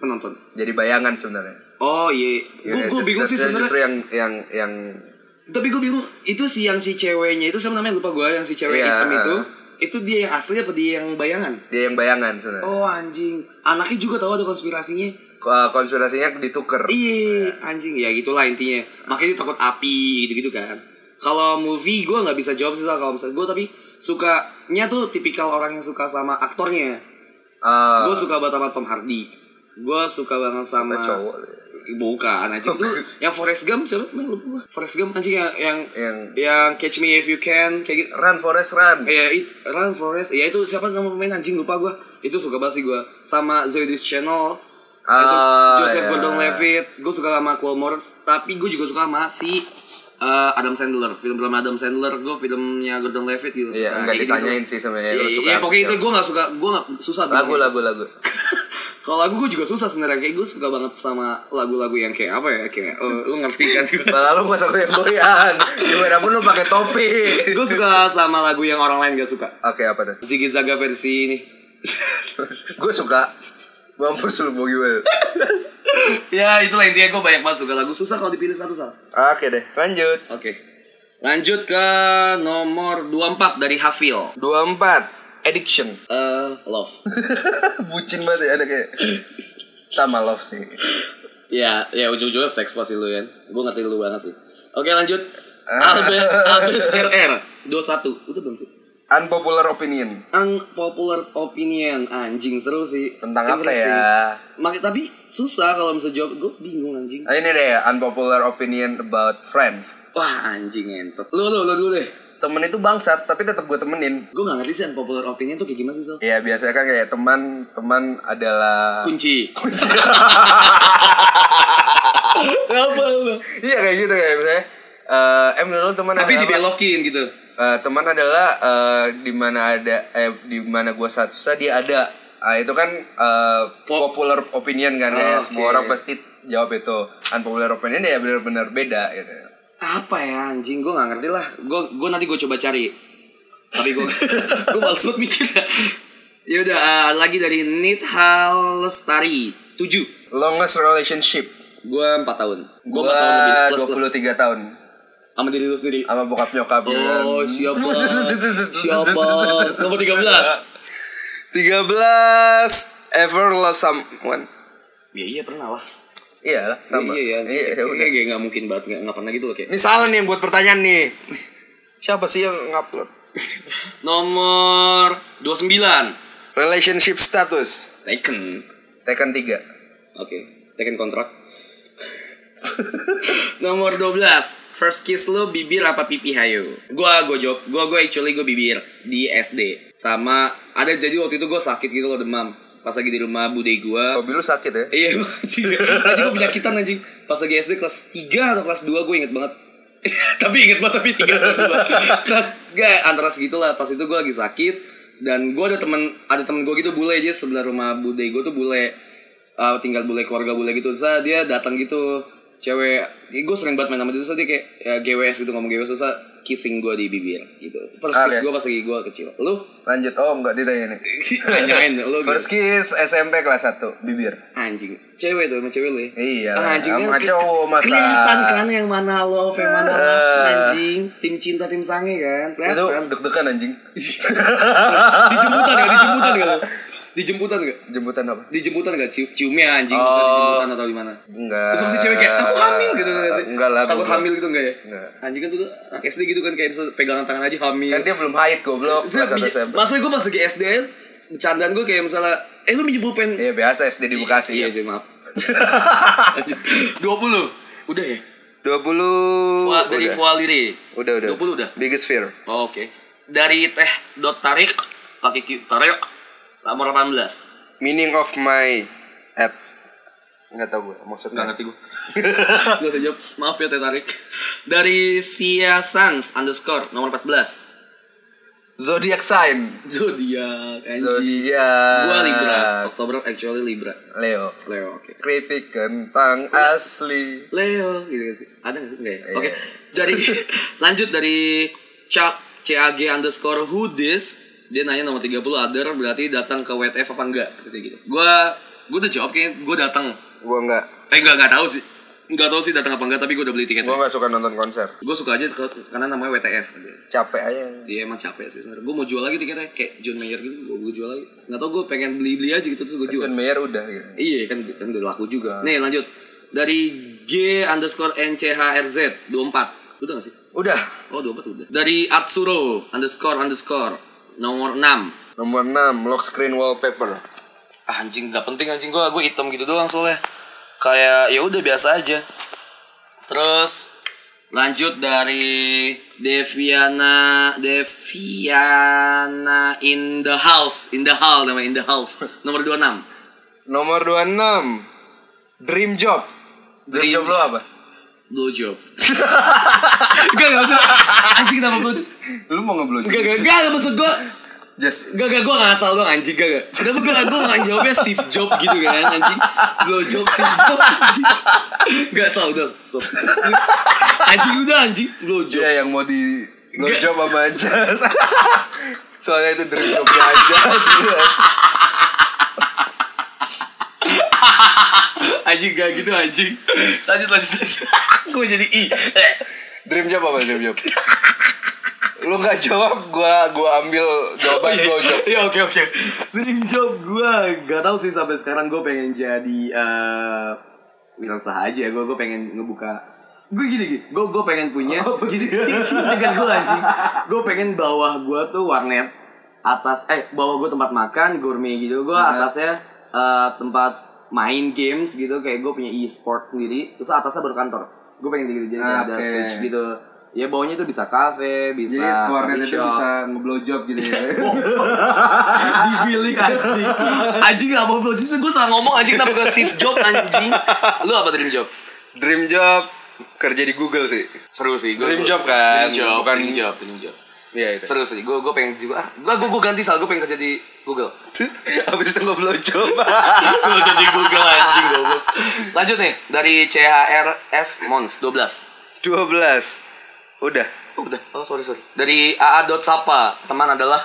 [SPEAKER 3] penonton.
[SPEAKER 4] Jadi bayangan sebenarnya.
[SPEAKER 3] Oh iya, gue
[SPEAKER 4] United
[SPEAKER 3] gue bingung sih
[SPEAKER 4] States-nya Justru
[SPEAKER 3] sebenarnya.
[SPEAKER 4] yang yang yang
[SPEAKER 3] Tapi gue bingung itu si yang si ceweknya itu sama namanya lupa gue yang si cewek
[SPEAKER 4] Iya.
[SPEAKER 3] hitam itu. Itu dia yang asli apa dia yang bayangan?
[SPEAKER 4] dia yang bayangan sebenarnya.
[SPEAKER 3] Oh anjing, Iya. anaknya juga tahu ada konspirasinya.
[SPEAKER 4] Ko- ah, Konspirasinya dituker.
[SPEAKER 3] Iya, anjing ya gitulah intinya. Makanya dia takut api gitu-gitu kan. Kalau movie gue nggak bisa jawab sih Sal, kalau misalnya gue tapi sukanya tuh tipikal orang yang suka sama aktornya.
[SPEAKER 4] Ah,
[SPEAKER 3] Gue suka banget sama Tom Hardy. Gue suka banget sama
[SPEAKER 4] cowok.
[SPEAKER 3] Bukan anjing <laughs> Lu yang Forrest Gump siapa? Men, lupa gua. Forrest Gump anjing yang yang yang,
[SPEAKER 4] Yang-
[SPEAKER 3] Catch Me If You Can kayak gitu.
[SPEAKER 4] Run Forest Run.
[SPEAKER 3] Ya, it, Run Forrest. Ya itu siapa nama pemain anjing lupa gue. Itu suka banget sih gue. Sama Zoidis Channel. itu
[SPEAKER 4] Ah,
[SPEAKER 3] Joseph
[SPEAKER 4] iya.
[SPEAKER 3] Gordon-Levitt. Gue suka sama Chloe Moritz. Tapi gue juga suka sama si eh, Adam Sandler. Film-film Adam Sandler. Gue filmnya Gordon-Levitt gitu.
[SPEAKER 4] Iya,
[SPEAKER 3] suka.
[SPEAKER 4] enggak
[SPEAKER 3] Kayak gitu.
[SPEAKER 4] ditanyain sih sebenarnya
[SPEAKER 3] Iya,
[SPEAKER 4] lu
[SPEAKER 3] iya,
[SPEAKER 4] suka
[SPEAKER 3] iya,
[SPEAKER 4] apa
[SPEAKER 3] pokoknya itu
[SPEAKER 4] siapa.
[SPEAKER 3] gue gak suka. Gue gak susah.
[SPEAKER 4] Lagu
[SPEAKER 3] bilangnya.
[SPEAKER 4] lagu lagu.
[SPEAKER 3] <laughs> Kalau lagu gue juga susah sebenarnya kayak gue suka banget sama lagu-lagu yang kayak apa ya kayak eh, lu ngerti
[SPEAKER 4] <laughs>
[SPEAKER 3] kan
[SPEAKER 4] Malah lu gak usah goyang-goyang. Gimana pun lu pakai topi.
[SPEAKER 3] gue suka sama lagu yang orang lain gak suka
[SPEAKER 4] Oke, apa tuh?
[SPEAKER 3] Ziggy Zaga versi ini
[SPEAKER 4] Gue suka Mampus lu mau gimana
[SPEAKER 3] ya itulah intinya gue banyak banget suka lagu susah kalau dipilih satu salah
[SPEAKER 4] Oke deh, lanjut
[SPEAKER 3] oke lanjut ke nomor 24 dari Hafil
[SPEAKER 4] 24 Addiction <laughs>
[SPEAKER 3] eh love
[SPEAKER 4] Bucin banget ya, ada kayak Sama love sih
[SPEAKER 3] ya ya ujung-ujungnya seks pasti lu kan gue ngerti lu banget sih oke lanjut Albe <laughs> Albes RR 21 itu belum sih
[SPEAKER 4] Unpopular opinion
[SPEAKER 3] unpopular opinion anjing seru sih
[SPEAKER 4] Tentang apa
[SPEAKER 3] Interesting.
[SPEAKER 4] ya?
[SPEAKER 3] Mak- tapi susah kalau bisa jawab gue bingung anjing
[SPEAKER 4] Nah, ini deh, unpopular opinion about friends
[SPEAKER 3] wah anjing entot lu lu lu dulu deh
[SPEAKER 4] Temen itu bangsat, tapi tetap gue temenin
[SPEAKER 3] gue gak ngerti sih unpopular opinion tuh kayak gimana sih Sal?
[SPEAKER 4] Ya, biasanya kan kayak teman Teman adalah
[SPEAKER 3] kunci kunci <laughs> apa apa
[SPEAKER 4] Iya, kayak gitu kayak misalnya eh, Em, dulu teman
[SPEAKER 3] tapi
[SPEAKER 4] adalah-
[SPEAKER 3] dibelokin gitu
[SPEAKER 4] Eh, teman adalah eh, di mana ada eh di mana gua saat susah dia ada Ah, itu kan eh,
[SPEAKER 3] Pop-
[SPEAKER 4] popular opinion kan
[SPEAKER 3] Oh,
[SPEAKER 4] ya
[SPEAKER 3] oke.
[SPEAKER 4] semua orang pasti jawab itu unpopular opinion ya benar-benar beda gitu
[SPEAKER 3] apa ya anjing gue gak ngerti lah gue gue nanti gue coba cari tapi <laughs> gue gue males banget mikir ya udah eh, lagi dari Nithal Lestari 7
[SPEAKER 4] longest relationship
[SPEAKER 3] gue 4 tahun gue 4
[SPEAKER 4] gua
[SPEAKER 3] tahun lebih plus plus
[SPEAKER 4] 23 tahun
[SPEAKER 3] sama diri lu sendiri
[SPEAKER 4] sama bokap nyokap gitu kan.
[SPEAKER 3] Oh <laughs>
[SPEAKER 4] <laughs>
[SPEAKER 3] siapa? siapa? Nomor <laughs> 13
[SPEAKER 4] 13 ever lost someone
[SPEAKER 3] Ya iya pernah lah
[SPEAKER 4] iyalah sama
[SPEAKER 3] Iya iya
[SPEAKER 4] Iya, udah.
[SPEAKER 3] Kayaknya gak mungkin banget Gak, gak pernah gitu loh kayak
[SPEAKER 4] ini salah nih yang buat pertanyaan nih siapa sih yang ngupload
[SPEAKER 3] Nomor 29
[SPEAKER 4] relationship status
[SPEAKER 3] Taken
[SPEAKER 4] Tekken 3
[SPEAKER 3] Oke Taken kontrak <laughs> Nomor 12 First kiss lo bibir apa pipi hayo Gua gua jawab Gua gua actually gua bibir Di SD Sama Ada jadi waktu itu gua sakit gitu loh demam Pas lagi di rumah bude gua
[SPEAKER 4] Hobi lu sakit ya?
[SPEAKER 3] Iya emang, anjing Anjing gue penyakitan anjing Pas lagi SD kelas 3 atau kelas 2 gue inget banget <laughs> Tapi inget banget tapi 3 atau 2 Kelas gak antara segitulah Pas itu gue lagi sakit Dan gue ada temen Ada temen gue gitu bule aja Sebelah rumah bude gue tuh bule Eh, Tinggal bule keluarga bule gitu Terus ah, dia datang gitu Cewek Gue sering banget main sama dia Terus dia kayak ya, GWS gitu ngomong GWS Terus ah, kissing gue di bibir gitu First kiss
[SPEAKER 4] Oke.
[SPEAKER 3] gue pas lagi gue kecil Lu? <laughs>
[SPEAKER 4] Lanjut, oh enggak ditanya nih
[SPEAKER 3] Tanyain lu gitu.
[SPEAKER 4] First kiss SMP kelas 1, bibir
[SPEAKER 3] anjing cewek tuh sama cewek lu ya
[SPEAKER 4] Iya,
[SPEAKER 3] ah, anjing
[SPEAKER 4] sama
[SPEAKER 3] kan ke-
[SPEAKER 4] cowok, masa?
[SPEAKER 3] kelihatan kan yang mana love yang mana
[SPEAKER 4] Eh.
[SPEAKER 3] lust anjing tim cinta tim sange kan
[SPEAKER 4] Itu <laughs>
[SPEAKER 3] kelihatan
[SPEAKER 4] deg-degan anjing
[SPEAKER 3] dijemputan ya dijemputan ya lu dijemputan gak?
[SPEAKER 4] Jemputan apa?
[SPEAKER 3] Dijemputan gak? Cium, ciumnya anjing
[SPEAKER 4] Oh.
[SPEAKER 3] bisa dijemputan atau gimana?
[SPEAKER 4] Enggak.
[SPEAKER 3] Terus masih cewek kayak aku hamil gitu nggak sih?
[SPEAKER 4] Enggak lah.
[SPEAKER 3] Takut
[SPEAKER 4] goblok.
[SPEAKER 3] hamil gitu enggak ya?
[SPEAKER 4] Enggak.
[SPEAKER 3] Anjing kan dulu anak SD gitu kan kayak bisa pegangan tangan aja hamil.
[SPEAKER 4] Kan dia belum haid goblok.
[SPEAKER 3] Terus
[SPEAKER 4] Masa
[SPEAKER 3] bi-
[SPEAKER 4] SMP.
[SPEAKER 3] Masa gue pas lagi SD aja, bercandaan gue kayak misalnya eh lu minjem pulpen
[SPEAKER 4] Iya biasa SD di Bekasi.
[SPEAKER 3] Iya sih
[SPEAKER 4] <laughs>
[SPEAKER 3] maaf. 20 udah ya.
[SPEAKER 4] 20
[SPEAKER 3] Fua, dari
[SPEAKER 4] udah.
[SPEAKER 3] Fualiri.
[SPEAKER 4] udah udah.
[SPEAKER 3] 20 udah.
[SPEAKER 4] Biggest fear.
[SPEAKER 3] Oh, Oke. Dari teh dot tarik pakai Q tarik nomor 18.
[SPEAKER 4] Meaning of my app. Enggak tahu gue maksudnya.
[SPEAKER 3] Enggak ngerti <laughs> gue. Gak usah jawab. Maaf ya teh tarik. Dari Sia Sans underscore nomor 14.
[SPEAKER 4] Zodiac sign.
[SPEAKER 3] Zodiak anjing.
[SPEAKER 4] Zodiac.
[SPEAKER 3] Gua Libra. Oktober actually Libra.
[SPEAKER 4] Leo.
[SPEAKER 3] Leo oke.
[SPEAKER 4] Keripik kentang asli.
[SPEAKER 3] Leo gitu kan sih ada nggak sih enggak ya
[SPEAKER 4] Iya.
[SPEAKER 3] oke dari <laughs> lanjut dari Chuck CAG underscore who this dia nanya nomor 30 other berarti datang ke WTF apa enggak gitu gitu gua gua udah jawab kayaknya gua datang
[SPEAKER 4] Gua enggak.
[SPEAKER 3] eh enggak enggak tahu sih enggak tahu sih datang apa enggak tapi gua udah beli tiket
[SPEAKER 4] Gua enggak suka nonton konser.
[SPEAKER 3] gua suka aja ke- karena namanya WTF
[SPEAKER 4] Capek aja.
[SPEAKER 3] dia emang capek sih sebenarnya gua mau jual lagi tiketnya kayak John Mayer gitu gua, gua jual lagi nggak tau gua pengen beli beli aja gitu terus gua jual
[SPEAKER 4] John Mayer udah gitu.
[SPEAKER 3] Iya kan, kan udah laku juga. Nih lanjut dari G underscore NCHRZ 24 udah gak sih?
[SPEAKER 4] Udah.
[SPEAKER 3] Oh 24 udah. Dari Atsuro underscore underscore nomor 6
[SPEAKER 4] Nomor 6 lock screen wallpaper.
[SPEAKER 3] Ah, anjing gak penting anjing gua gue hitam gitu doang soalnya kayak ya udah biasa aja. Terus lanjut dari Deviana Deviana in the house in the hall namanya in the house nomor 26
[SPEAKER 4] Nomor 26 Dream job Dream,
[SPEAKER 3] Dream
[SPEAKER 4] job lo
[SPEAKER 3] job.
[SPEAKER 4] apa?
[SPEAKER 3] blowjob <laughs> Enggak, enggak usah Anjing kenapa blowjob
[SPEAKER 4] Lu mau ngeblow
[SPEAKER 3] Enggak, enggak, enggak, enggak, maksud gua
[SPEAKER 4] Just
[SPEAKER 3] Enggak, enggak, gua gak asal doang anjing, enggak, enggak Kenapa gua, gua gak jawabnya Steve Jobs gitu kan anjing Blowjob Steve Jobs anjing Enggak, asal, udah, stop Anjing, udah anjing, blowjob
[SPEAKER 4] Iya yang mau di Blow
[SPEAKER 3] Enggak.
[SPEAKER 4] job sama Anjas <laughs> Soalnya itu dream jobnya Anjas
[SPEAKER 3] Anjing, enggak gitu anjing Lanjut, lanjut, lanjut <laughs> Gua jadi I
[SPEAKER 4] <laughs> Dream job apa dream job? Lu gak jawab gua gua ambil jawaban blow job
[SPEAKER 3] <laughs> Iya, oke, oke Dream job gua Gak tau sih sampai sekarang gua pengen jadi eh Wirausaha aja, gua, gua pengen ngebuka gue gini gini gue gue pengen punya gini gini kan gue anjing gue pengen bawah gue tuh warnet atas eh bawah gue tempat makan gourmet gitu gue atasnya eh, tempat main games gitu kayak gue punya e-sport sendiri terus atasnya baru kantor gue pengen gitu jadi kayak ada
[SPEAKER 4] Oke.
[SPEAKER 3] stage gitu ya bawahnya tuh bisa kafe
[SPEAKER 4] Iya,
[SPEAKER 3] bisa
[SPEAKER 4] Nah,
[SPEAKER 3] coffee shop.
[SPEAKER 4] ngeblow job gitu ya
[SPEAKER 3] di bilik anjing anjing gak mau blow job gue salah ngomong anjing kenapa gue shift job anjing lu apa dream job
[SPEAKER 4] <laughs> Dream job kerja di Google sih
[SPEAKER 3] seru sih gua,
[SPEAKER 4] Dream
[SPEAKER 3] gua-
[SPEAKER 4] job kan,
[SPEAKER 3] dream job
[SPEAKER 4] bukan-
[SPEAKER 3] dream job dream job
[SPEAKER 4] Iya itu
[SPEAKER 3] seru sih gue gue pengen juga ah gue gue ganti sal gue pengen kerja di Google
[SPEAKER 4] <laughs> Abis itu ngeblow job
[SPEAKER 3] <laughs> gue kerja di Google anjing gue lanjut nih dari CHRS Mons 12
[SPEAKER 4] 12 Udah
[SPEAKER 3] oh, udah oh sorry sorry dari AA dot Sapa teman
[SPEAKER 4] <laughs>
[SPEAKER 3] adalah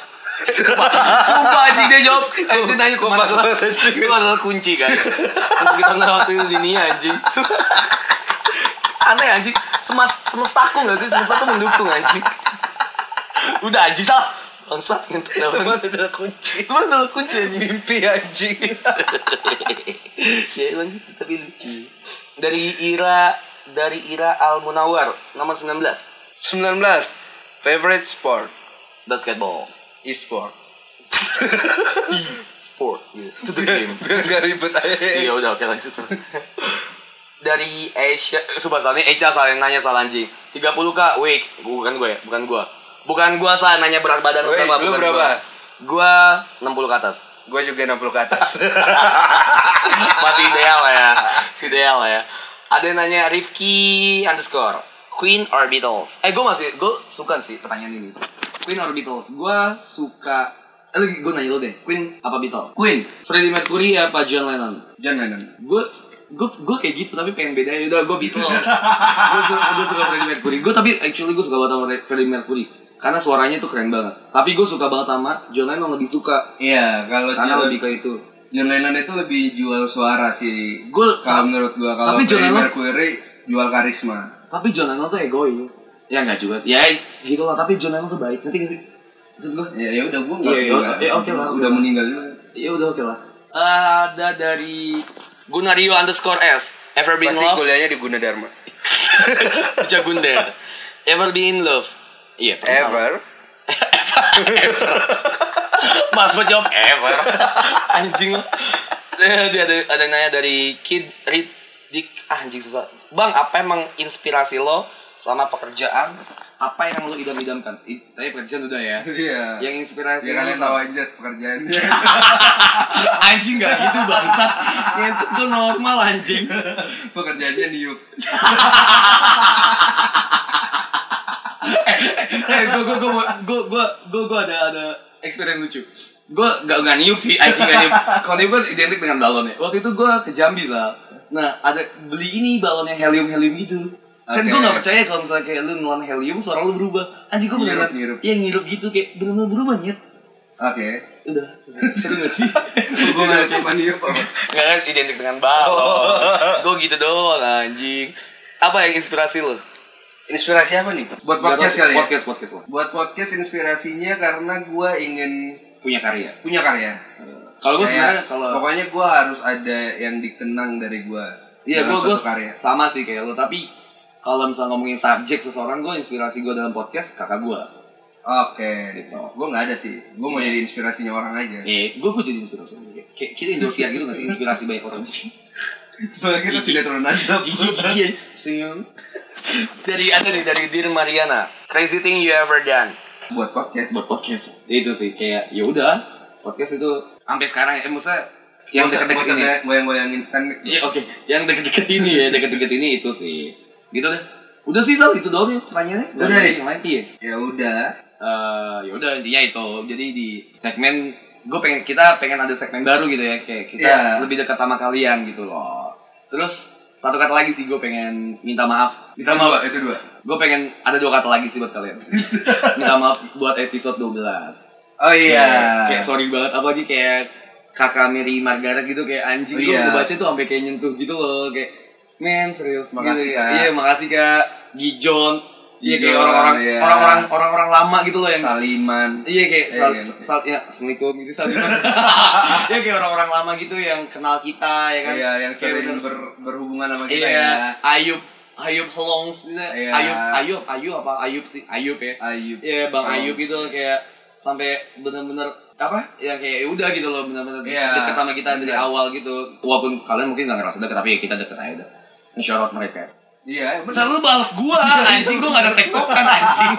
[SPEAKER 3] Sumpah, sumpah anjing dia jawab Eh, dia nanya teman
[SPEAKER 4] Kompas
[SPEAKER 3] adalah
[SPEAKER 4] banget, anjing.
[SPEAKER 3] Itu adalah kunci guys Untuk kita ngelawatin dunia anjing Aneh eh, anjing Semas, Semestaku gak sih? Semestaku mendukung anjing Udah anjing salah Bangsat ngentot
[SPEAKER 4] Teman
[SPEAKER 3] telepon.
[SPEAKER 4] adalah kunci
[SPEAKER 3] Teman adalah kunci anjing
[SPEAKER 4] Mimpi anjing
[SPEAKER 3] <laughs> ya emang gitu tapi lucu dari Ira dari Ira Al Munawar nomor 19
[SPEAKER 4] 19 favorite sport
[SPEAKER 3] basketball
[SPEAKER 4] e-sport <laughs>
[SPEAKER 3] sport gitu
[SPEAKER 4] Iya.
[SPEAKER 3] to the game
[SPEAKER 4] biar gak ribet aja
[SPEAKER 3] iya udah oke lanjut dari Asia eh, sumpah salahnya Echa salah yang nanya salah anjing 30 k wake bukan gue ya bukan gue bukan gue salah nanya berat badan lu
[SPEAKER 4] Wake,
[SPEAKER 3] berapa
[SPEAKER 4] lu
[SPEAKER 3] bukan
[SPEAKER 4] berapa?
[SPEAKER 3] gue 60 ke atas
[SPEAKER 4] gue juga 60 ke atas <laughs>
[SPEAKER 3] masih ideal lah ya masih ideal lah ya ada yang nanya Rifki underscore Queen or Beatles eh gue masih gue suka sih pertanyaan ini Queen or Beatles gue suka eh gue nanya lo deh Queen apa Beatles Queen Freddie Mercury apa John Lennon
[SPEAKER 4] jangan mainan
[SPEAKER 3] gue gue gue kayak gitu tapi pengen beda ya udah gue Beatles gue su- gue suka Freddie Mercury gue tapi actually gue suka banget sama Freddie Mercury karena suaranya tuh keren banget tapi gue suka banget sama John Lennon lebih suka
[SPEAKER 4] iya kalau
[SPEAKER 3] karena
[SPEAKER 4] John,
[SPEAKER 3] lebih ke itu
[SPEAKER 4] John Lennon itu lebih jual suara sih
[SPEAKER 3] Gua-
[SPEAKER 4] kalau menurut gue kalau
[SPEAKER 3] tapi John
[SPEAKER 4] Freddie
[SPEAKER 3] Lennon-
[SPEAKER 4] Mercury jual karisma
[SPEAKER 3] Tapi John Lennon tuh egois. Ya nggak juga sih. Ya gitu lah. Tapi John Lennon tuh baik. Nanti sih? Maksud gue?
[SPEAKER 4] ya ya udah gue
[SPEAKER 3] Iya, iya, iya, oke lah.
[SPEAKER 4] udah meninggal juga
[SPEAKER 3] Iya udah oke lah. Eh, ada dari Gunario underscore S. Ever been
[SPEAKER 4] Pasti
[SPEAKER 3] love?
[SPEAKER 4] kuliahnya di Gunadarma.
[SPEAKER 3] Bisa Gunder. Ever been in love? Iya. pernah.
[SPEAKER 4] <laughs> Ever.
[SPEAKER 3] ever. Mas mau jawab ever. <laughs> Anjing lo. Eh, Dia ada, ada yang nanya dari Kid Ridik. Ah, anjing susah. Bang, apa emang inspirasi lo sama pekerjaan? Apa yang lo idam-idamkan? Ih, Tadi pekerjaan udah <laughs> ya.
[SPEAKER 6] Iya.
[SPEAKER 3] Yang
[SPEAKER 6] Ya
[SPEAKER 3] inspirasi lo
[SPEAKER 6] kalian
[SPEAKER 3] sama-
[SPEAKER 6] tahu aja
[SPEAKER 4] <laughs>
[SPEAKER 6] pekerjaannya.
[SPEAKER 3] anjing gak gitu bangsat itu tuh normal anjing
[SPEAKER 6] pekerjaannya niup.
[SPEAKER 3] eh gue gue gue gue gue ada ada eksperimen lucu gue gak gak niup sih anjing gak niup kalau niup kan identik dengan balon ya waktu itu gue ke Jambi lah nah ada beli ini balon yang helium helium gitu kan gue
[SPEAKER 6] Oke.
[SPEAKER 3] gak percaya kalau misalnya kayak lu nelan helium suara lu berubah anjing gue beneran
[SPEAKER 6] Ngirup, ngirup.
[SPEAKER 3] iya ngirup gitu kayak bener-bener berubah nyet
[SPEAKER 6] Oke.
[SPEAKER 3] udah seru, seru gak sih
[SPEAKER 6] Gue nggak coba niup apa.
[SPEAKER 3] Gak kan identik dengan
[SPEAKER 6] Oh.
[SPEAKER 3] balon Gue gitu doang anjing Apa yang inspirasi lo?
[SPEAKER 4] Inspirasi apa nih?
[SPEAKER 6] Buat podcast kali ya.
[SPEAKER 3] Podcast, podcast lah
[SPEAKER 6] Buat podcast inspirasinya karena gue ingin
[SPEAKER 3] Punya karya
[SPEAKER 6] punya karya.
[SPEAKER 3] Kalau gue
[SPEAKER 6] Kayak,
[SPEAKER 3] sebenarnya kalau
[SPEAKER 6] Iya, pokoknya gue harus ada yang dikenang dari gue.
[SPEAKER 3] Iya gue gue
[SPEAKER 6] karya.
[SPEAKER 3] sama sih kayak lo Tapi kalau misalnya ngomongin subjek seseorang Gue inspirasi gue dalam podcast kakak gue
[SPEAKER 6] Oke, gue nggak ada sih. Gue mau
[SPEAKER 3] Iya.
[SPEAKER 6] jadi inspirasinya orang aja.
[SPEAKER 3] Eh, gue gue jadi inspirasi Kayak kita Indonesia gitu gak sih inspirasi banyak orang
[SPEAKER 6] <laughs>
[SPEAKER 3] <laughs>
[SPEAKER 6] Soalnya kita tidak turun azab.
[SPEAKER 3] Cici Dari ada nih dari Dir Mariana Crazy thing you ever done
[SPEAKER 6] Buat podcast.
[SPEAKER 3] buat <laughs> podcast itu sih kayak ya udah podcast itu sampai sekarang ya eh, maksudnya yang deket-deket ini
[SPEAKER 6] goyang-goyang instan.
[SPEAKER 3] iya oke yang deket-deket ini ya deket-deket ini itu sih gitu deh udah sih sal itu doang ya pertanyaannya Gak
[SPEAKER 6] Udah
[SPEAKER 3] ada
[SPEAKER 6] nih.
[SPEAKER 3] yang lain ya
[SPEAKER 6] Ya udah.
[SPEAKER 3] Eh, ya udah intinya itu jadi di segmen gue pengen kita pengen ada segmen baru gitu ya kayak kita
[SPEAKER 6] Iya.
[SPEAKER 3] lebih dekat sama kalian gitu loh terus satu kata lagi sih gue pengen minta maaf minta
[SPEAKER 6] Itu dua,
[SPEAKER 3] maaf
[SPEAKER 6] itu dua.
[SPEAKER 3] gue pengen ada dua kata lagi sih buat
[SPEAKER 6] <laughs>
[SPEAKER 3] kalian minta maaf buat episode 12
[SPEAKER 6] Oh iya.
[SPEAKER 3] Kayak sorry banget apalagi kayak kakak Mary Margaret gitu kayak anjing
[SPEAKER 6] Oh,
[SPEAKER 3] gua-
[SPEAKER 6] iya.
[SPEAKER 3] gua baca tuh sampai kayak nyentuh gitu loh kayak men serius
[SPEAKER 6] Makasih,
[SPEAKER 3] gitu.
[SPEAKER 6] Kak.
[SPEAKER 3] Iya, makasih Kak. Gijon. Iya kayak
[SPEAKER 6] Gijon,
[SPEAKER 3] orang-orang
[SPEAKER 6] iya.
[SPEAKER 3] orang-orang orang-orang lama gitu loh yang
[SPEAKER 6] Saliman.
[SPEAKER 3] Iya kayak
[SPEAKER 6] Iya,
[SPEAKER 3] sal,
[SPEAKER 6] iya.
[SPEAKER 3] sal, ya, assalamualaikum gitu
[SPEAKER 6] <laughs>
[SPEAKER 3] sal Iya kayak orang-orang lama gitu yang kenal kita ya kan.
[SPEAKER 6] Iya, yang
[SPEAKER 3] Kayak
[SPEAKER 6] sering
[SPEAKER 3] bener-
[SPEAKER 6] ber- berhubungan sama kita
[SPEAKER 3] Iya,
[SPEAKER 6] ya.
[SPEAKER 3] Ayub Ayub Holongs gitu.
[SPEAKER 6] Iya.
[SPEAKER 3] Ayub Ayub Ayub apa Ayub sih? Ayub ya.
[SPEAKER 6] Ayub.
[SPEAKER 3] Iya Bang
[SPEAKER 6] Holongs.
[SPEAKER 3] Ayub itu kayak sampai bener-bener apa ya kayak ya udah gitu loh bener-bener
[SPEAKER 6] Iya.
[SPEAKER 3] deket sama kita dari awal gitu walaupun kalian mungkin gak ngerasa deket tapi ya kita deket aja deh Insya Allah mereka
[SPEAKER 6] Iya, bener.
[SPEAKER 3] Masa lu balas gua anjing gua gak ada tektokan anjing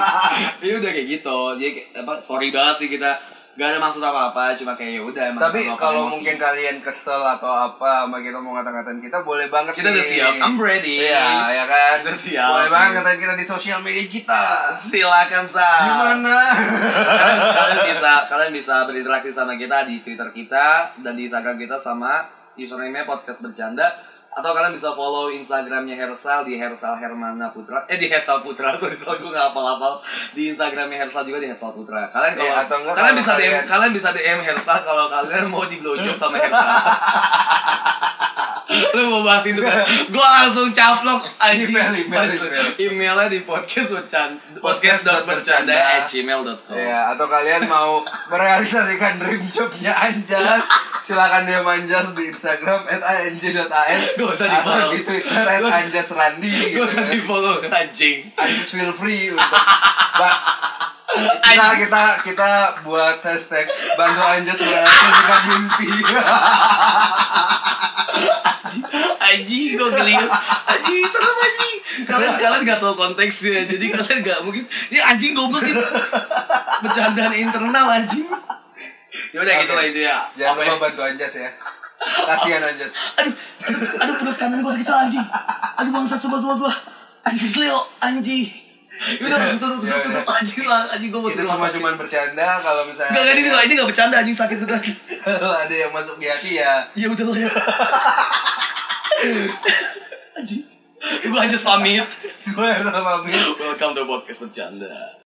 [SPEAKER 3] <laughs> ya udah kayak gitu jadi kayak, apa sorry banget sih kita gak ada maksud apa-apa cuma kayak ya udah emang
[SPEAKER 4] Tapi
[SPEAKER 3] apa-apa
[SPEAKER 4] kalau
[SPEAKER 3] emosi.
[SPEAKER 4] mungkin kalian kesel atau apa sama kita mau ngata-ngatain kita boleh banget
[SPEAKER 3] kita
[SPEAKER 4] nih.
[SPEAKER 3] udah siap I'm ready
[SPEAKER 4] Iya, ya kan?
[SPEAKER 3] Kita siap.
[SPEAKER 4] Boleh banget ngatain kita di sosial media kita.
[SPEAKER 3] silakan sa
[SPEAKER 4] Gimana?
[SPEAKER 3] kalian, kalian bisa kalian bisa berinteraksi sama kita di Twitter kita dan di Instagram kita sama username podcast bercanda atau kalian bisa follow Instagramnya Hersal di Hersal Hermana Putra eh di Hersal Putra <laughs> sorry sorry gue nggak hafal hafal di Instagramnya Hersal juga di Hersal Putra kalian kalau
[SPEAKER 4] Iya, atau enggak
[SPEAKER 3] kalian
[SPEAKER 4] kalau
[SPEAKER 3] bisa DM
[SPEAKER 4] kalian-
[SPEAKER 3] kalian bisa DM Hersal kalau kalian mau di blowjob sama
[SPEAKER 4] <laughs>
[SPEAKER 3] Hersal lu mau bahas itu kan gue langsung caplok anjing
[SPEAKER 6] Email, email, email.
[SPEAKER 3] emailnya di podcast bercanda podcast.bercanda at gmail.com
[SPEAKER 4] Ya, atau kalian mau merealisasikan dream jobnya Anjas, silakan DM Anjas di Instagram @anj.as
[SPEAKER 3] Gak usah di
[SPEAKER 4] atau
[SPEAKER 3] follow.
[SPEAKER 4] di Twitter at
[SPEAKER 3] Gak-
[SPEAKER 4] Anjas Randi gitu.
[SPEAKER 3] Gak usah di follow anjing.
[SPEAKER 4] Anjas feel free untuk Ba- kita
[SPEAKER 3] Anjing.
[SPEAKER 4] kita kita buat hashtag bantu Anjas merealisasikan mimpi.
[SPEAKER 3] Anjing, anjing gue geli. Anjing serem anjing. Kalian kalian gak tahu konteksnya. Jadi kalian gak mungkin ini anjing goblok ini. Bercandaan internal anjing. Ya udah gitu lah itu ya.
[SPEAKER 4] Jangan
[SPEAKER 3] Apa ya?
[SPEAKER 4] lupa bantu Anjas ya. Kasihan Anjas.
[SPEAKER 3] Aduh, aduh, aduh perut kanan gue sakit salah anjing. Aduh bangsat sebelah sebelah sebelah. Anjing kesleo anjing. Ya udah langsung turun turun
[SPEAKER 4] Ya udah.
[SPEAKER 3] turun. Anjing lah anjing gue masih
[SPEAKER 4] Itu semua cuma bercanda kalau misalnya
[SPEAKER 3] Gak gak ini lah, ini gak bercanda anjing sakit beneran.
[SPEAKER 4] kalau <laughs> ada yang masuk di hati ya <laughs>
[SPEAKER 3] Ya udah lah ya. Anjing. Gue aja pamit.
[SPEAKER 4] gue harus pamit.
[SPEAKER 3] Welcome to podcast bercanda.